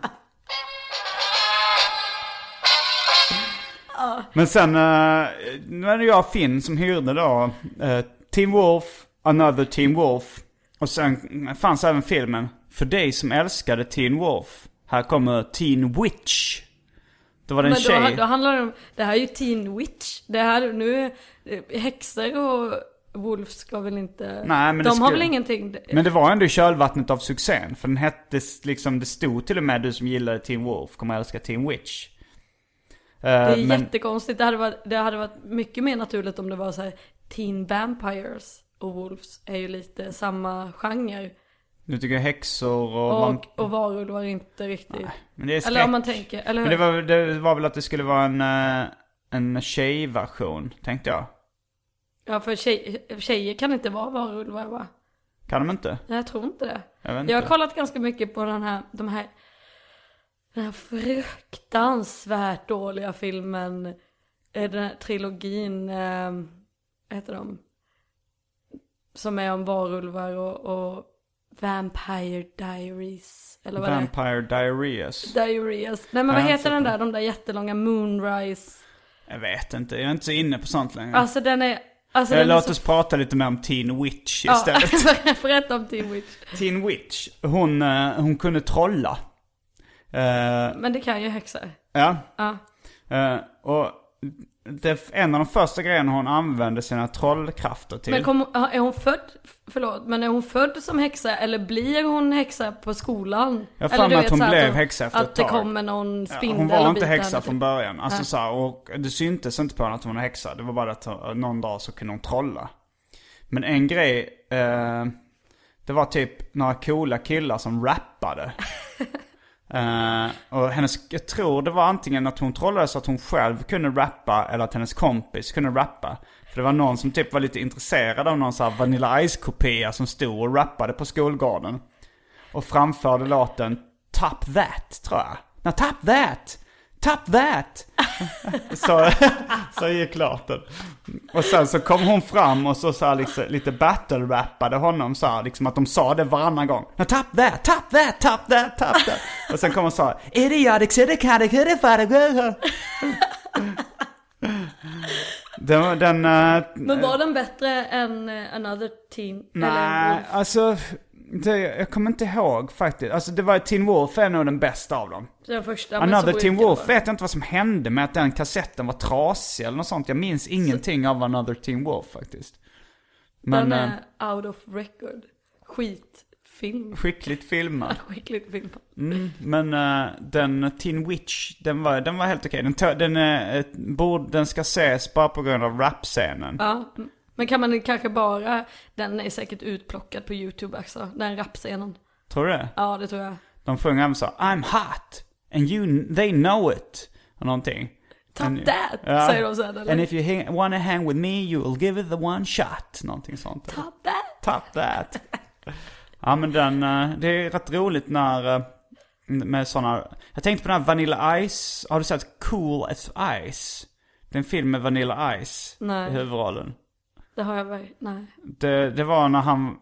Speaker 1: Men sen, eh, nu är det jag och Finn som hyrde då eh, Team Wolf, Another Team Wolf. Och sen fanns även filmen För dig som älskade Teen Wolf. Här kommer Teen Witch. Det var det en
Speaker 2: Men då,
Speaker 1: tjej.
Speaker 2: då handlar det om, det här är ju Teen Witch. Det här nu, är- häxor och Wolf ska väl inte,
Speaker 1: Nej, men det
Speaker 2: de har
Speaker 1: skulle-
Speaker 2: väl ingenting.
Speaker 1: Men det var ändå i kölvattnet av succén. För den hette s- liksom, det stod till och med du som gillade Teen Wolf kommer älska Teen Witch. Eh,
Speaker 2: Det är jättekonstigt. Det hade, varit, det hade varit mycket mer naturligt om det var så här Teen Vampires och Wolves är ju lite samma genre.
Speaker 1: Nu tycker jag häxor och... man-
Speaker 2: Och, och varulvar är inte riktigt.
Speaker 1: men det är skräck.
Speaker 2: eller om man tänker, eller hur?
Speaker 1: Men det var, det var väl att det skulle vara en, eh, en tjejversion, tänkte jag.
Speaker 2: Ja för tjej, tjejer kan inte vara varulvar va?
Speaker 1: Kan de inte?
Speaker 2: Nej jag tror inte det.
Speaker 1: Jag vet inte.
Speaker 2: Jag har kollat ganska mycket på den här, de här, den här fruktansvärt dåliga filmen, eh, den här trilogin, eh, vad heter de? Som är om varulvar och, och Vampire Diaries, eller vad
Speaker 1: Vampire Diaries.
Speaker 2: det är? Diaries. Nej men
Speaker 1: Ja,
Speaker 2: vad
Speaker 1: jag
Speaker 2: heter
Speaker 1: har
Speaker 2: den
Speaker 1: sett
Speaker 2: där, de där jättelånga Moonrise?
Speaker 1: Jag vet inte, jag är inte så inne på sånt längre.
Speaker 2: Alltså den är, alltså
Speaker 1: Eh,
Speaker 2: den är
Speaker 1: Låt
Speaker 2: så...
Speaker 1: oss prata lite mer om Teen Witch
Speaker 2: Ja,
Speaker 1: istället.
Speaker 2: berätta om Teen Witch.
Speaker 1: Teen Witch, hon, eh, hon kunde trolla. Eh,
Speaker 2: Men det kan ju häxor.
Speaker 1: Ja.
Speaker 2: Ja.
Speaker 1: Eh, och det, en av de första grejerna hon använde sina trollkrafter till.
Speaker 2: Men kom, är hon född, förlåt, men är hon född som häxa eller blir hon häxa på skolan?
Speaker 1: Jag har för
Speaker 2: eller
Speaker 1: mig att hon
Speaker 2: så här
Speaker 1: blev
Speaker 2: de-
Speaker 1: häxa efter ett
Speaker 2: Att det
Speaker 1: tag.
Speaker 2: kommer någon
Speaker 1: Ja,
Speaker 2: spindel
Speaker 1: Hon var
Speaker 2: och
Speaker 1: inte
Speaker 2: biter
Speaker 1: häxa
Speaker 2: henne,
Speaker 1: från
Speaker 2: typ.
Speaker 1: början. Alltså
Speaker 2: Nej.
Speaker 1: så här, och det syntes inte på henne att hon var häxa. Det var bara att hon- någon dag så kunde hon trolla. Men en grej, eh, det var typ några coola killar som rappade. eh, och hennes, jag tror det var antingen att hon trollade så att hon själv kunde rappa eller att hennes kompis kunde rappa. För det var någon som typ var lite intresserad av någon så här Vanilla Ice-kopia som stod och rappade på skolgården. Och framförde låten Tap That, tror jag. Nej, Tap That! Tap That! så, så gick låten. Och sen så kom hon fram och så, så här, liksom, lite battle-rappade honom så här, liksom att de sa det varannan gång. "Now Tap that, tap that, tap that, tap that. Och sen kom hon så här, idiotic, idiotic, idiotic, Den, den eh,
Speaker 2: Men var den bättre än eh, Another Teen?
Speaker 1: Nej,
Speaker 2: Eller,
Speaker 1: alltså det, jag kommer inte ihåg faktiskt. Alltså det var Teen Wolf är nog den bästa av dem.
Speaker 2: den första, men
Speaker 1: Another
Speaker 2: så
Speaker 1: Teen
Speaker 2: gick det
Speaker 1: Wolf
Speaker 2: bara.
Speaker 1: vet jag inte vad som hände med att den kassetten var trasig eller något sånt. Jag minns ingenting av Another Teen Wolf faktiskt. Men
Speaker 2: Den
Speaker 1: eh,
Speaker 2: är out of record. Skitfilm. film.
Speaker 1: Skickligt filmad.
Speaker 2: Skickligt film.
Speaker 1: Men eh, den Tin Witch, den var, den var helt okej. Den, tå- den, eh, eh, borde- den ska ses bara på grund av rapscenen.
Speaker 2: Ja. Men kan man kanske bara, den är säkert utplockad på YouTube också, den rapscenen.
Speaker 1: Tror du det?
Speaker 2: Ja, det tror jag.
Speaker 1: De sjunger även så I'm hot and you, they know it. Och någonting.
Speaker 2: Top
Speaker 1: And-
Speaker 2: that,
Speaker 1: Ja.
Speaker 2: säger de sen. Eller?
Speaker 1: And if you hang, wanna hang with me you'll give it the one shot. Någonting sånt.
Speaker 2: Top that.
Speaker 1: Top that. ja men den, eh, det är rätt roligt när, eh, med sådana, jag tänkte på den här Vanilla Ice, har du sett Cool as Ice? Det är en film med Vanilla Ice
Speaker 2: Nej.
Speaker 1: i huvudrollen.
Speaker 2: Det har jag väl, nej.
Speaker 1: Det, det var när han,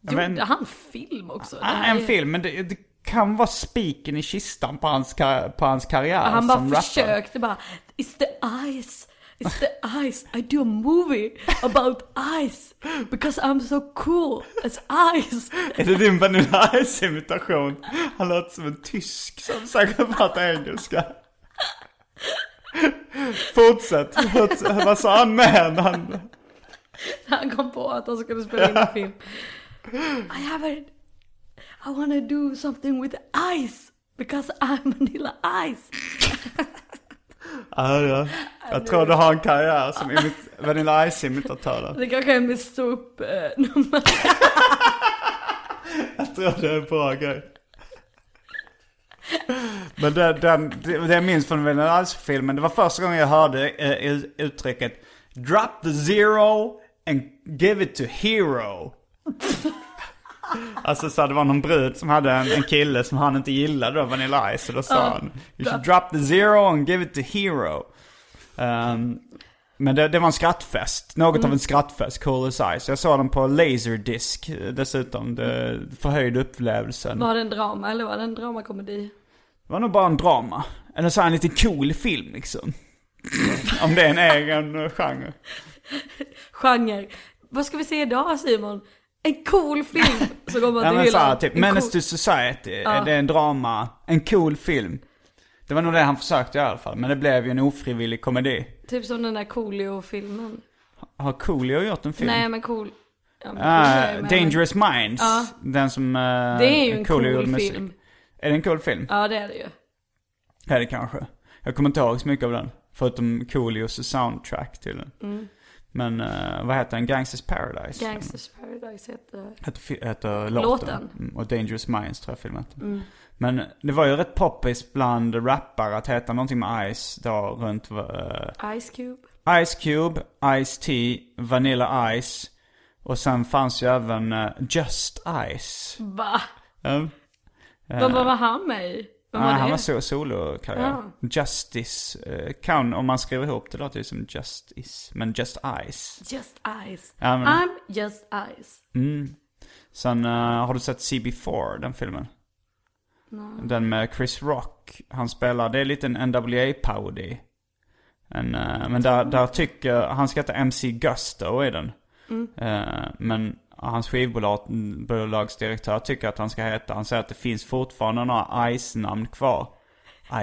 Speaker 1: jag
Speaker 2: Gjorde
Speaker 1: vet inte-
Speaker 2: han film också? Det
Speaker 1: ah,
Speaker 2: här
Speaker 1: en
Speaker 2: är-
Speaker 1: film, men det, det kan vara spiken i kistan på hans, kar- på hans karriär
Speaker 2: Han bara
Speaker 1: som rappare.
Speaker 2: försökte bara, it's the ice, it's the ice, I do a movie about ice because I'm so cool as ice.
Speaker 1: Är det din Vanilla Ice-imitation? Han låter som en tysk som säkert pratar engelska. Fortsätt. Fortsätt. Vad sa han med han?
Speaker 2: Han kom på att han skulle spela in en film. I have a, I wanna do something with ice because I'm vanilla ice.
Speaker 1: Ja, ja. Jag tror du har en karriär som imit- Vanilla Ice-imitatörer.
Speaker 2: Det kanske är eh, mitt ståuppnummer.
Speaker 1: Jag tror det är en bra grej. Men det, den, det, det jag minns från Vanilla Ice-filmen, det var första gången jag hörde eh, ut- uttrycket Drop the zero and give it to hero. Alltså så det var någon brud som hade en, en kille som han inte gillade då, Vanilla Ice, och då sa han You should drop the zero and give it to hero. Ehm, men det, det var en skrattfest, något av en skrattfest, cool as ice. Jag såg den på Laserdisc eh, dessutom, det förhöjde upplevelsen.
Speaker 2: Var det en drama eller var det en dramakomedi?
Speaker 1: Det var nog bara en drama, eller så här en lite cool film liksom. Om det är en egen eh, genre.
Speaker 2: Genre. Vad ska vi se idag Simon? En cool film! Så går man
Speaker 1: Ja,
Speaker 2: till
Speaker 1: men så här,
Speaker 2: hyllan.
Speaker 1: typ,
Speaker 2: En
Speaker 1: Menace
Speaker 2: cool-
Speaker 1: to Society, eh, det är en drama, en cool film. Det var nog det han försökte i alla fall, men det blev ju en ofrivillig komedi.
Speaker 2: Typ som den där Coolio-filmen.
Speaker 1: Har Coolio gjort en film?
Speaker 2: Nej men cool. Ja, men
Speaker 1: Typ. Ah,
Speaker 2: cool är med.
Speaker 1: Dangerous Minds, den som eh,
Speaker 2: Det är ju en
Speaker 1: Coolio
Speaker 2: cool
Speaker 1: gjorde musik.
Speaker 2: film.
Speaker 1: Är det en cool film?
Speaker 2: Ja det är det ju.
Speaker 1: Är det kanske. Jag kommer inte ihåg så mycket av den. Förutom Coolios soundtrack till den. Men eh, vad heter den? Gangsters Paradise?
Speaker 2: Mm. Gangsters Paradise heter...
Speaker 1: Heter, fi- heter låten.
Speaker 2: Låten. Mm.
Speaker 1: Mm, och Dangerous Minds tror jag filmen heter. Men det var ju rätt poppis bland rappare att heta någonting med Ice då runt eh,
Speaker 2: Ice Cube.
Speaker 1: Ice Cube, Ice Tea, Vanilla Ice. Och sen fanns ju även eh, Just Ice.
Speaker 2: Va?
Speaker 1: Mm.
Speaker 2: Vad vad var han med i? Vem
Speaker 1: Nej,
Speaker 2: var
Speaker 1: Ah, han
Speaker 2: det?
Speaker 1: var så solokarriär. Justice eh, kan, om man skriver ihop det låter det som Justice, men Just Ice.
Speaker 2: Just Ice.
Speaker 1: Ja, men-
Speaker 2: I'm just Ice.
Speaker 1: Sen eh, har du sett CB4, den filmen? Den med Chris Rock. Han spelar, det är lite en NWA-parodi. En, eh, men där, där tycker, han ska heta MC Gusto i den. Eh, men hans skivbolagsdirektör tycker att han ska heta, han säger att det finns fortfarande några Ice-namn kvar.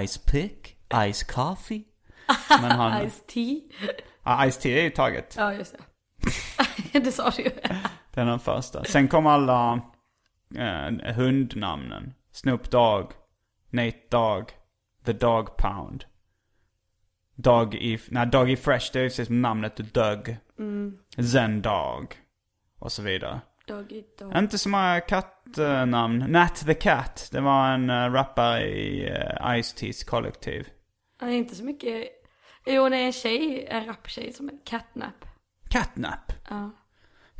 Speaker 1: Ice Pick, Ice Coffee. Men han,
Speaker 2: Ice T.
Speaker 1: ja, Ice Tea är ju taget.
Speaker 2: Ja just det. det sa du ju.
Speaker 1: Den är den första. Sen kom alla eh, hundnamnen. Snoop Dogg, Nate Dogg, The Dog Pound. Doggy, nej Doggy Fresh det är ju precis som namnet Doug. Zen Dog. Och så vidare.
Speaker 2: Doggy dog.
Speaker 1: Inte så många kattnamn. Nat the Cat, det var en eh, rappare i eh, Ice-T's kollektiv.
Speaker 2: Han är inte så mycket... Jo det är en tjej, en raptjej som är Catnap.
Speaker 1: Catnap.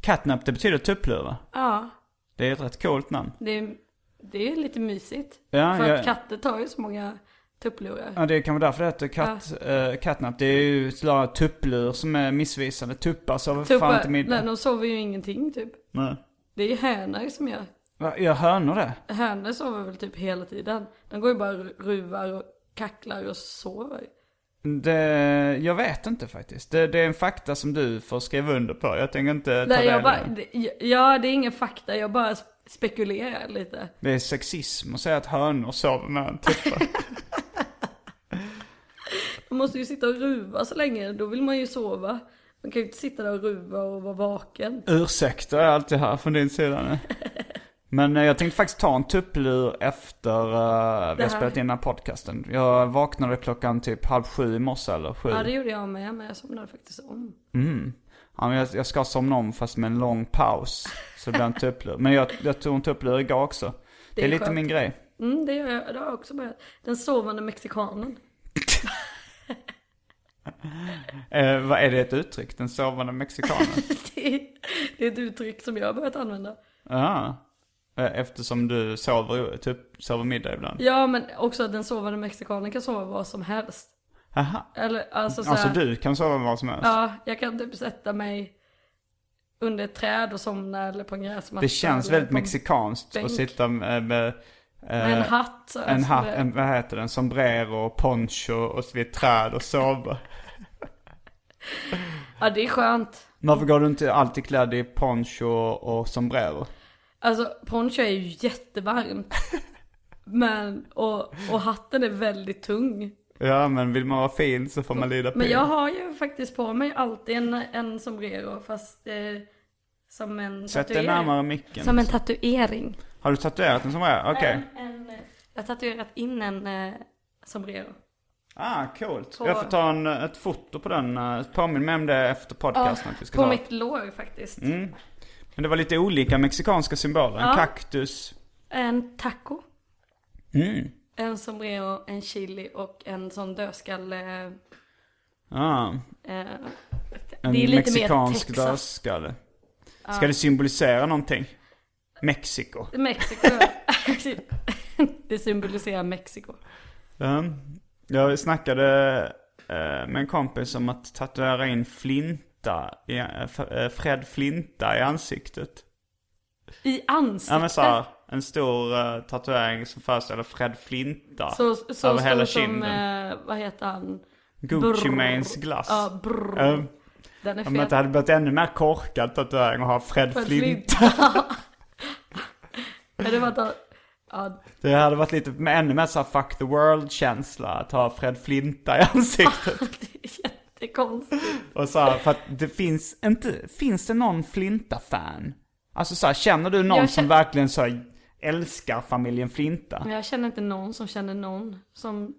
Speaker 1: Catnap det betyder tuppluva.
Speaker 2: Ja.
Speaker 1: Det är ett rätt coolt namn.
Speaker 2: Det är, det är lite mysigt.
Speaker 1: Ja,
Speaker 2: för
Speaker 1: jag-
Speaker 2: att katter tar ju så många tupplurar.
Speaker 1: Ja, det är kanske därför det heter katt, eh, catnap. Det är ju snarare tupplur som är missvisande. Tuppar sover för fan
Speaker 2: Tuppar,
Speaker 1: inte
Speaker 2: nej,
Speaker 1: middag.
Speaker 2: de sover ju ingenting typ.
Speaker 1: Nej.
Speaker 2: Det är ju hönor som gör.
Speaker 1: Va, Gör hönor det?
Speaker 2: Hönor sover väl typ hela tiden. De går ju bara och ruvar och kacklar och sover.
Speaker 1: det? Jag vet inte faktiskt. Det, det är en fakta som du får skriva under på. Jag tänker inte ta
Speaker 2: Nej, jag
Speaker 1: del
Speaker 2: bara,
Speaker 1: bara...
Speaker 2: det- ja, det är ingen fakta, jag bara sp- spekulerar lite.
Speaker 1: Det är sexism att säga att hönor sover med en tuppa.
Speaker 2: Man måste ju sitta och ruva så länge, då vill man ju sova. Man kan
Speaker 1: Mm.
Speaker 2: ju inte sitta där och ruva och vara vaken.
Speaker 1: Ursäkter är alltid här från din sida nu. Men eh, jag tänkte faktiskt ta en tupplur efter eh, vi har spelat in den här podcasten. Jag vaknade klockan typ halv sju i morse eller sju.
Speaker 2: Ja, det gjorde jag med, men jag somnade faktiskt om.
Speaker 1: Ja, men jag, jag ska somna om fast med en lång paus. Så det blir en tupplur. Men jag, jag tog en tupplur igår också. Det är,
Speaker 2: är
Speaker 1: lite
Speaker 2: skönt.
Speaker 1: min grej.
Speaker 2: Mm, det, gör jag, det har jag också börjat. Den sovande mexikanen.
Speaker 1: Eh, vad är det ett uttryck? Den sovande mexikanen?
Speaker 2: Det är, det är ett uttryck som jag har börjat använda.
Speaker 1: Ja. Eh, Eftersom du sover, typ, sover middag ibland.
Speaker 2: Ja, men också att den sovande mexikanen kan sova vad som helst.
Speaker 1: Aha.
Speaker 2: Eller alltså, så
Speaker 1: Alltså
Speaker 2: här-
Speaker 1: du kan sova var som helst.
Speaker 2: Ja, jag kan typ sätta mig under ett träd och somna eller på en gräsmatta.
Speaker 1: det känns
Speaker 2: eller
Speaker 1: väldigt
Speaker 2: på en-
Speaker 1: mexikanskt
Speaker 2: bänk.
Speaker 1: att sitta med, med,
Speaker 2: Med en hatt. Så här,
Speaker 1: en,
Speaker 2: som
Speaker 1: hatt,
Speaker 2: det-
Speaker 1: en, vad heter den, sombrero och poncho och så vid ett träd och sova.
Speaker 2: Ja, det är skönt.
Speaker 1: Varför går du inte alltid klädd i poncho och sombrero?
Speaker 2: Alltså poncho är ju jättevarmt. Men, och, och hatten är väldigt tung.
Speaker 1: Ja men vill man vara fin så får man lida
Speaker 2: Men
Speaker 1: pin.
Speaker 2: jag har ju faktiskt på mig alltid en, en sombrero fast eh, som en
Speaker 1: Sätt dig
Speaker 2: tatuering.
Speaker 1: närmare micken.
Speaker 2: Som en tatuering.
Speaker 1: Har du tatuerat en sombrero? Okej.
Speaker 2: En, en, jag har tatuerat in en eh, sombrero.
Speaker 1: Ah, coolt.
Speaker 2: På-
Speaker 1: Jag får ta en, ett foto på den. eh, Påminn mig om det efter podcasten. att vi ska
Speaker 2: på
Speaker 1: ta. Mm.
Speaker 2: mitt lår faktiskt.
Speaker 1: Men det var lite olika mexikanska symboler. En
Speaker 2: Ja.
Speaker 1: kaktus.
Speaker 2: En taco.
Speaker 1: Mm.
Speaker 2: En sombrero, en chili och en sån dödskalle.
Speaker 1: Ah,
Speaker 2: Eh,
Speaker 1: en
Speaker 2: det är lite mer
Speaker 1: mexikansk
Speaker 2: Texas.
Speaker 1: dödskalle. Ska det symbolisera någonting? Mexiko.
Speaker 2: Mexiko. det symboliserar Mexiko.
Speaker 1: Ja. Jag snackade eh, med en kompis om att tatuera in flinta, i, eh, F- eh, Fred Flinta i ansiktet.
Speaker 2: I ansiktet.
Speaker 1: Ja men såhär, en stor eh, tatuering som föreställer Fred Flinta.
Speaker 2: så, så
Speaker 1: över
Speaker 2: stor
Speaker 1: hela
Speaker 2: som,
Speaker 1: kinden.
Speaker 2: eh, vad heter han?
Speaker 1: Gucci
Speaker 2: Brrr.
Speaker 1: Manes glass.
Speaker 2: Ja, brrr.
Speaker 1: Eh,
Speaker 2: Den är
Speaker 1: om att det
Speaker 2: fet.
Speaker 1: hade blivit ännu mer korkad tatuering att ha Fred,
Speaker 2: Fred
Speaker 1: Flinta.
Speaker 2: Men det var att han- ja,
Speaker 1: Det hade varit lite, men ännu mer såhär fuck the world-känsla att ha Fred Flinta i ansiktet.
Speaker 2: det är jättekonstigt.
Speaker 1: Och så här, för att det finns inte, finns det någon Flinta-fan? Alltså så här, känner du någon
Speaker 2: Jag
Speaker 1: som
Speaker 2: känner-
Speaker 1: verkligen så här, älskar familjen Flinta?
Speaker 2: Men jag känner inte någon som känner någon som,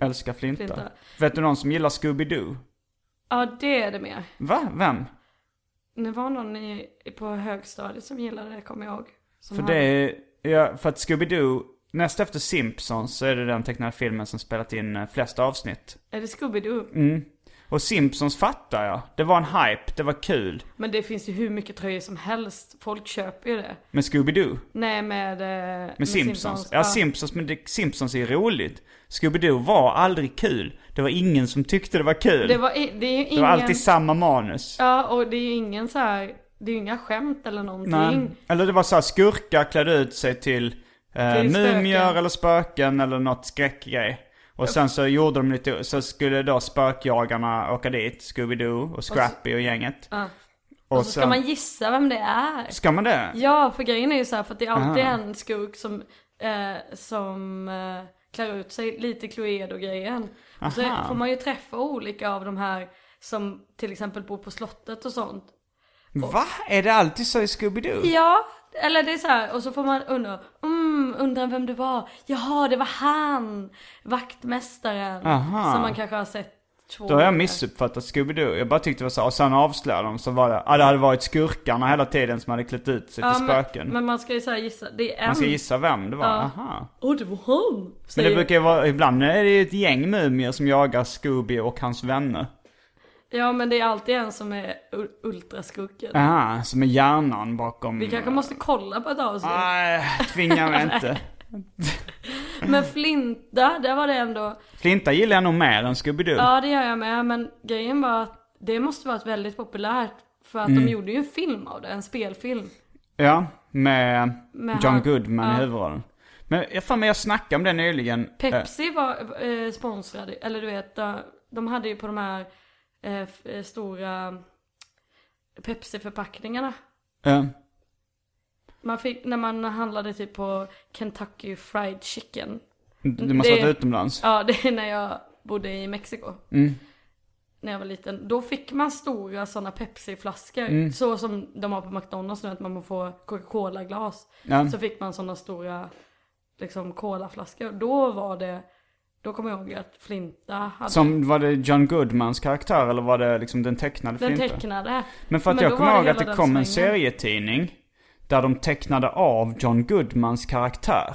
Speaker 1: Älskar Flinta.
Speaker 2: Flinta.
Speaker 1: Vet du någon som gillar Scooby-Doo?
Speaker 2: ja det är det mer.
Speaker 1: Va? Vem?
Speaker 2: Det var någon i, på högstadiet som gillade det kommer jag ihåg. Som
Speaker 1: För
Speaker 2: hade-
Speaker 1: det är, ja, för att Scooby-Doo, näst efter Simpsons så är det den tecknade filmen som spelat in eh, flest avsnitt.
Speaker 2: Är det Scooby-Doo?
Speaker 1: Mm. Och Simpsons fattar jag. Det var en hype, det var kul.
Speaker 2: Men det finns ju hur mycket tröjor som helst. Folk köper ju det.
Speaker 1: Men Scooby-Doo?
Speaker 2: Nej med... eh,
Speaker 1: Med Simpsons. Ja, Simpsons, men det, Simpsons är roligt. Scooby-Doo var aldrig kul. Det var ingen som tyckte det var kul.
Speaker 2: Det, var, i- det är ju
Speaker 1: Det
Speaker 2: ingen...
Speaker 1: var alltid samma manus.
Speaker 2: Ja, och det är ju ingen så här... Det är ju inga skämt eller någonting.
Speaker 1: Nej. Eller det var så här skurkar klädde ut sig till, eh,
Speaker 2: Till spöken.
Speaker 1: mumier eller spöken eller något skräckgrej. Och sen så gjorde de lite, så skulle då spökjagarna åka dit, Scooby-Doo och Scrappy och gänget. Och,
Speaker 2: Och så ska
Speaker 1: sen-
Speaker 2: man gissa vem det är.
Speaker 1: Ska man det?
Speaker 2: Ja, för grejen är ju så här för att det är alltid en skurk som, eh, som eh, klär ut sig lite Cluedo-grejen. Och så
Speaker 1: Aha.
Speaker 2: får man ju träffa olika av de här som till exempel bor på slottet och sånt.
Speaker 1: Va? Är det alltid så i Scooby-Doo?
Speaker 2: Ja, eller det är så här och så får man undra, mm, undrar vem det var. Jaha, det var han, vaktmästaren.
Speaker 1: Aha.
Speaker 2: Som man kanske har sett två
Speaker 1: Då har jag
Speaker 2: gånger.
Speaker 1: missuppfattat Scooby-Doo. Jag bara tyckte det var så, här, och sen avslöjade de så var det, ja det hade varit skurkarna hela tiden som hade klätt ut sig till spöken.
Speaker 2: Men, men man ska ju så här gissa, det är en.
Speaker 1: Man ska gissa vem det var, aha.
Speaker 2: Åh, det var han.
Speaker 1: Men
Speaker 2: säger-
Speaker 1: det brukar ju vara, ibland är det ju ett gäng mumier som jagar Scooby och hans vänner.
Speaker 2: Ja, men det är alltid en som är u- ultraskurken.
Speaker 1: Aha, som är hjärnan bakom...
Speaker 2: Vi kanske måste kolla på ett avsnitt.
Speaker 1: Nej, tvinga mig inte.
Speaker 2: Men Flinta, där var det ändå.
Speaker 1: Flinta gillar jag nog mer än Scooby-Doo.
Speaker 2: Ja det gör jag med, men grejen var att det måste varit väldigt populärt. För att
Speaker 1: Mm.
Speaker 2: de gjorde ju en film av det, en spelfilm.
Speaker 1: Ja, med,
Speaker 2: Med
Speaker 1: John
Speaker 2: han-
Speaker 1: Goodman eh. i
Speaker 2: ja.
Speaker 1: huvudrollen. Men jag fan men jag snackade om det nyligen. Eh,
Speaker 2: Pepsi var eh, sponsrade, eller du vet, eh, de hade ju på de här eh, f- eh, stora Pepsi-förpackningarna.
Speaker 1: eh,
Speaker 2: Man fick, när man handlade typ på Kentucky Fried Chicken.
Speaker 1: du måste ha
Speaker 2: Det-
Speaker 1: varit utomlands. Mm.
Speaker 2: Ja, det är när jag bodde i Mexiko. när jag var liten, då fick man stora sådana Pepsi-flaskor.
Speaker 1: Mm.
Speaker 2: Så som de har på McDonalds nu, att man får Coca-Cola-glas.
Speaker 1: Ja.
Speaker 2: Så fick man sådana stora liksom colaflaskor. Då var det, då kommer jag ihåg att Flinta hade
Speaker 1: Som, var det John Goodmans karaktär eller var det liksom den tecknade
Speaker 2: den
Speaker 1: Flinta?
Speaker 2: tecknade.
Speaker 1: Men för att
Speaker 2: då
Speaker 1: jag kommer
Speaker 2: var
Speaker 1: ihåg att
Speaker 2: hela
Speaker 1: det
Speaker 2: den
Speaker 1: kom en
Speaker 2: svängen.
Speaker 1: serietidning där de tecknade av John Goodmans karaktär.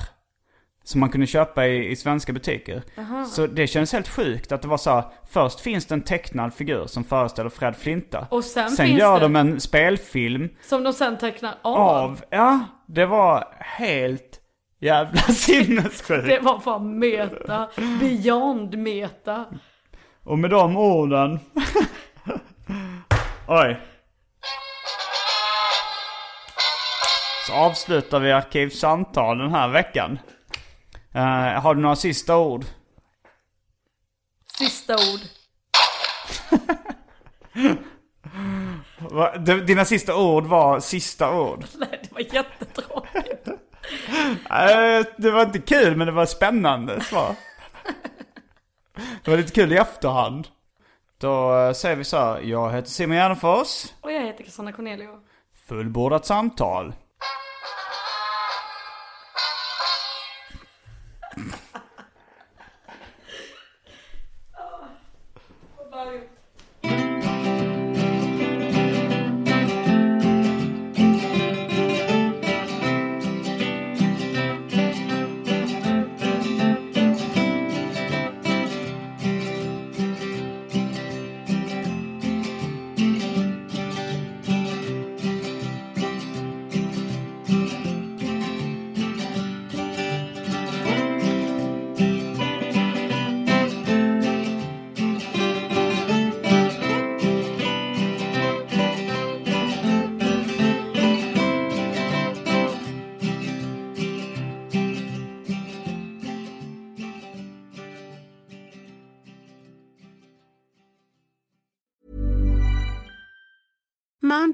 Speaker 1: Som man kunde köpa i, i svenska butiker. Så det känns helt sjukt att det var så här, först finns det en tecknad figur som föreställer Fred Flinta.
Speaker 2: Och sen finns
Speaker 1: gör
Speaker 2: det-
Speaker 1: de en spelfilm
Speaker 2: Som de sen tecknar av.
Speaker 1: av, ja, det var helt jävla sinnessjukt.
Speaker 2: Det var fan meta. Beyond meta.
Speaker 1: Och med de orden... Oj. Så avslutar vi Arkivsamtal den här veckan. Eh, har du några sista ord?
Speaker 2: Sista ord.
Speaker 1: Va- d- Dina sista ord var sista ord.
Speaker 2: Nej, det var jättetråkigt.
Speaker 1: Eh, det var inte kul men det var spännande svar. Det var lite kul i efterhand. Då eh, säger vi så här. Jag heter Simon Gärdenfors.
Speaker 2: Och jag heter Cassandra Cornelio.
Speaker 1: Fullbordat samtal.
Speaker 3: Mom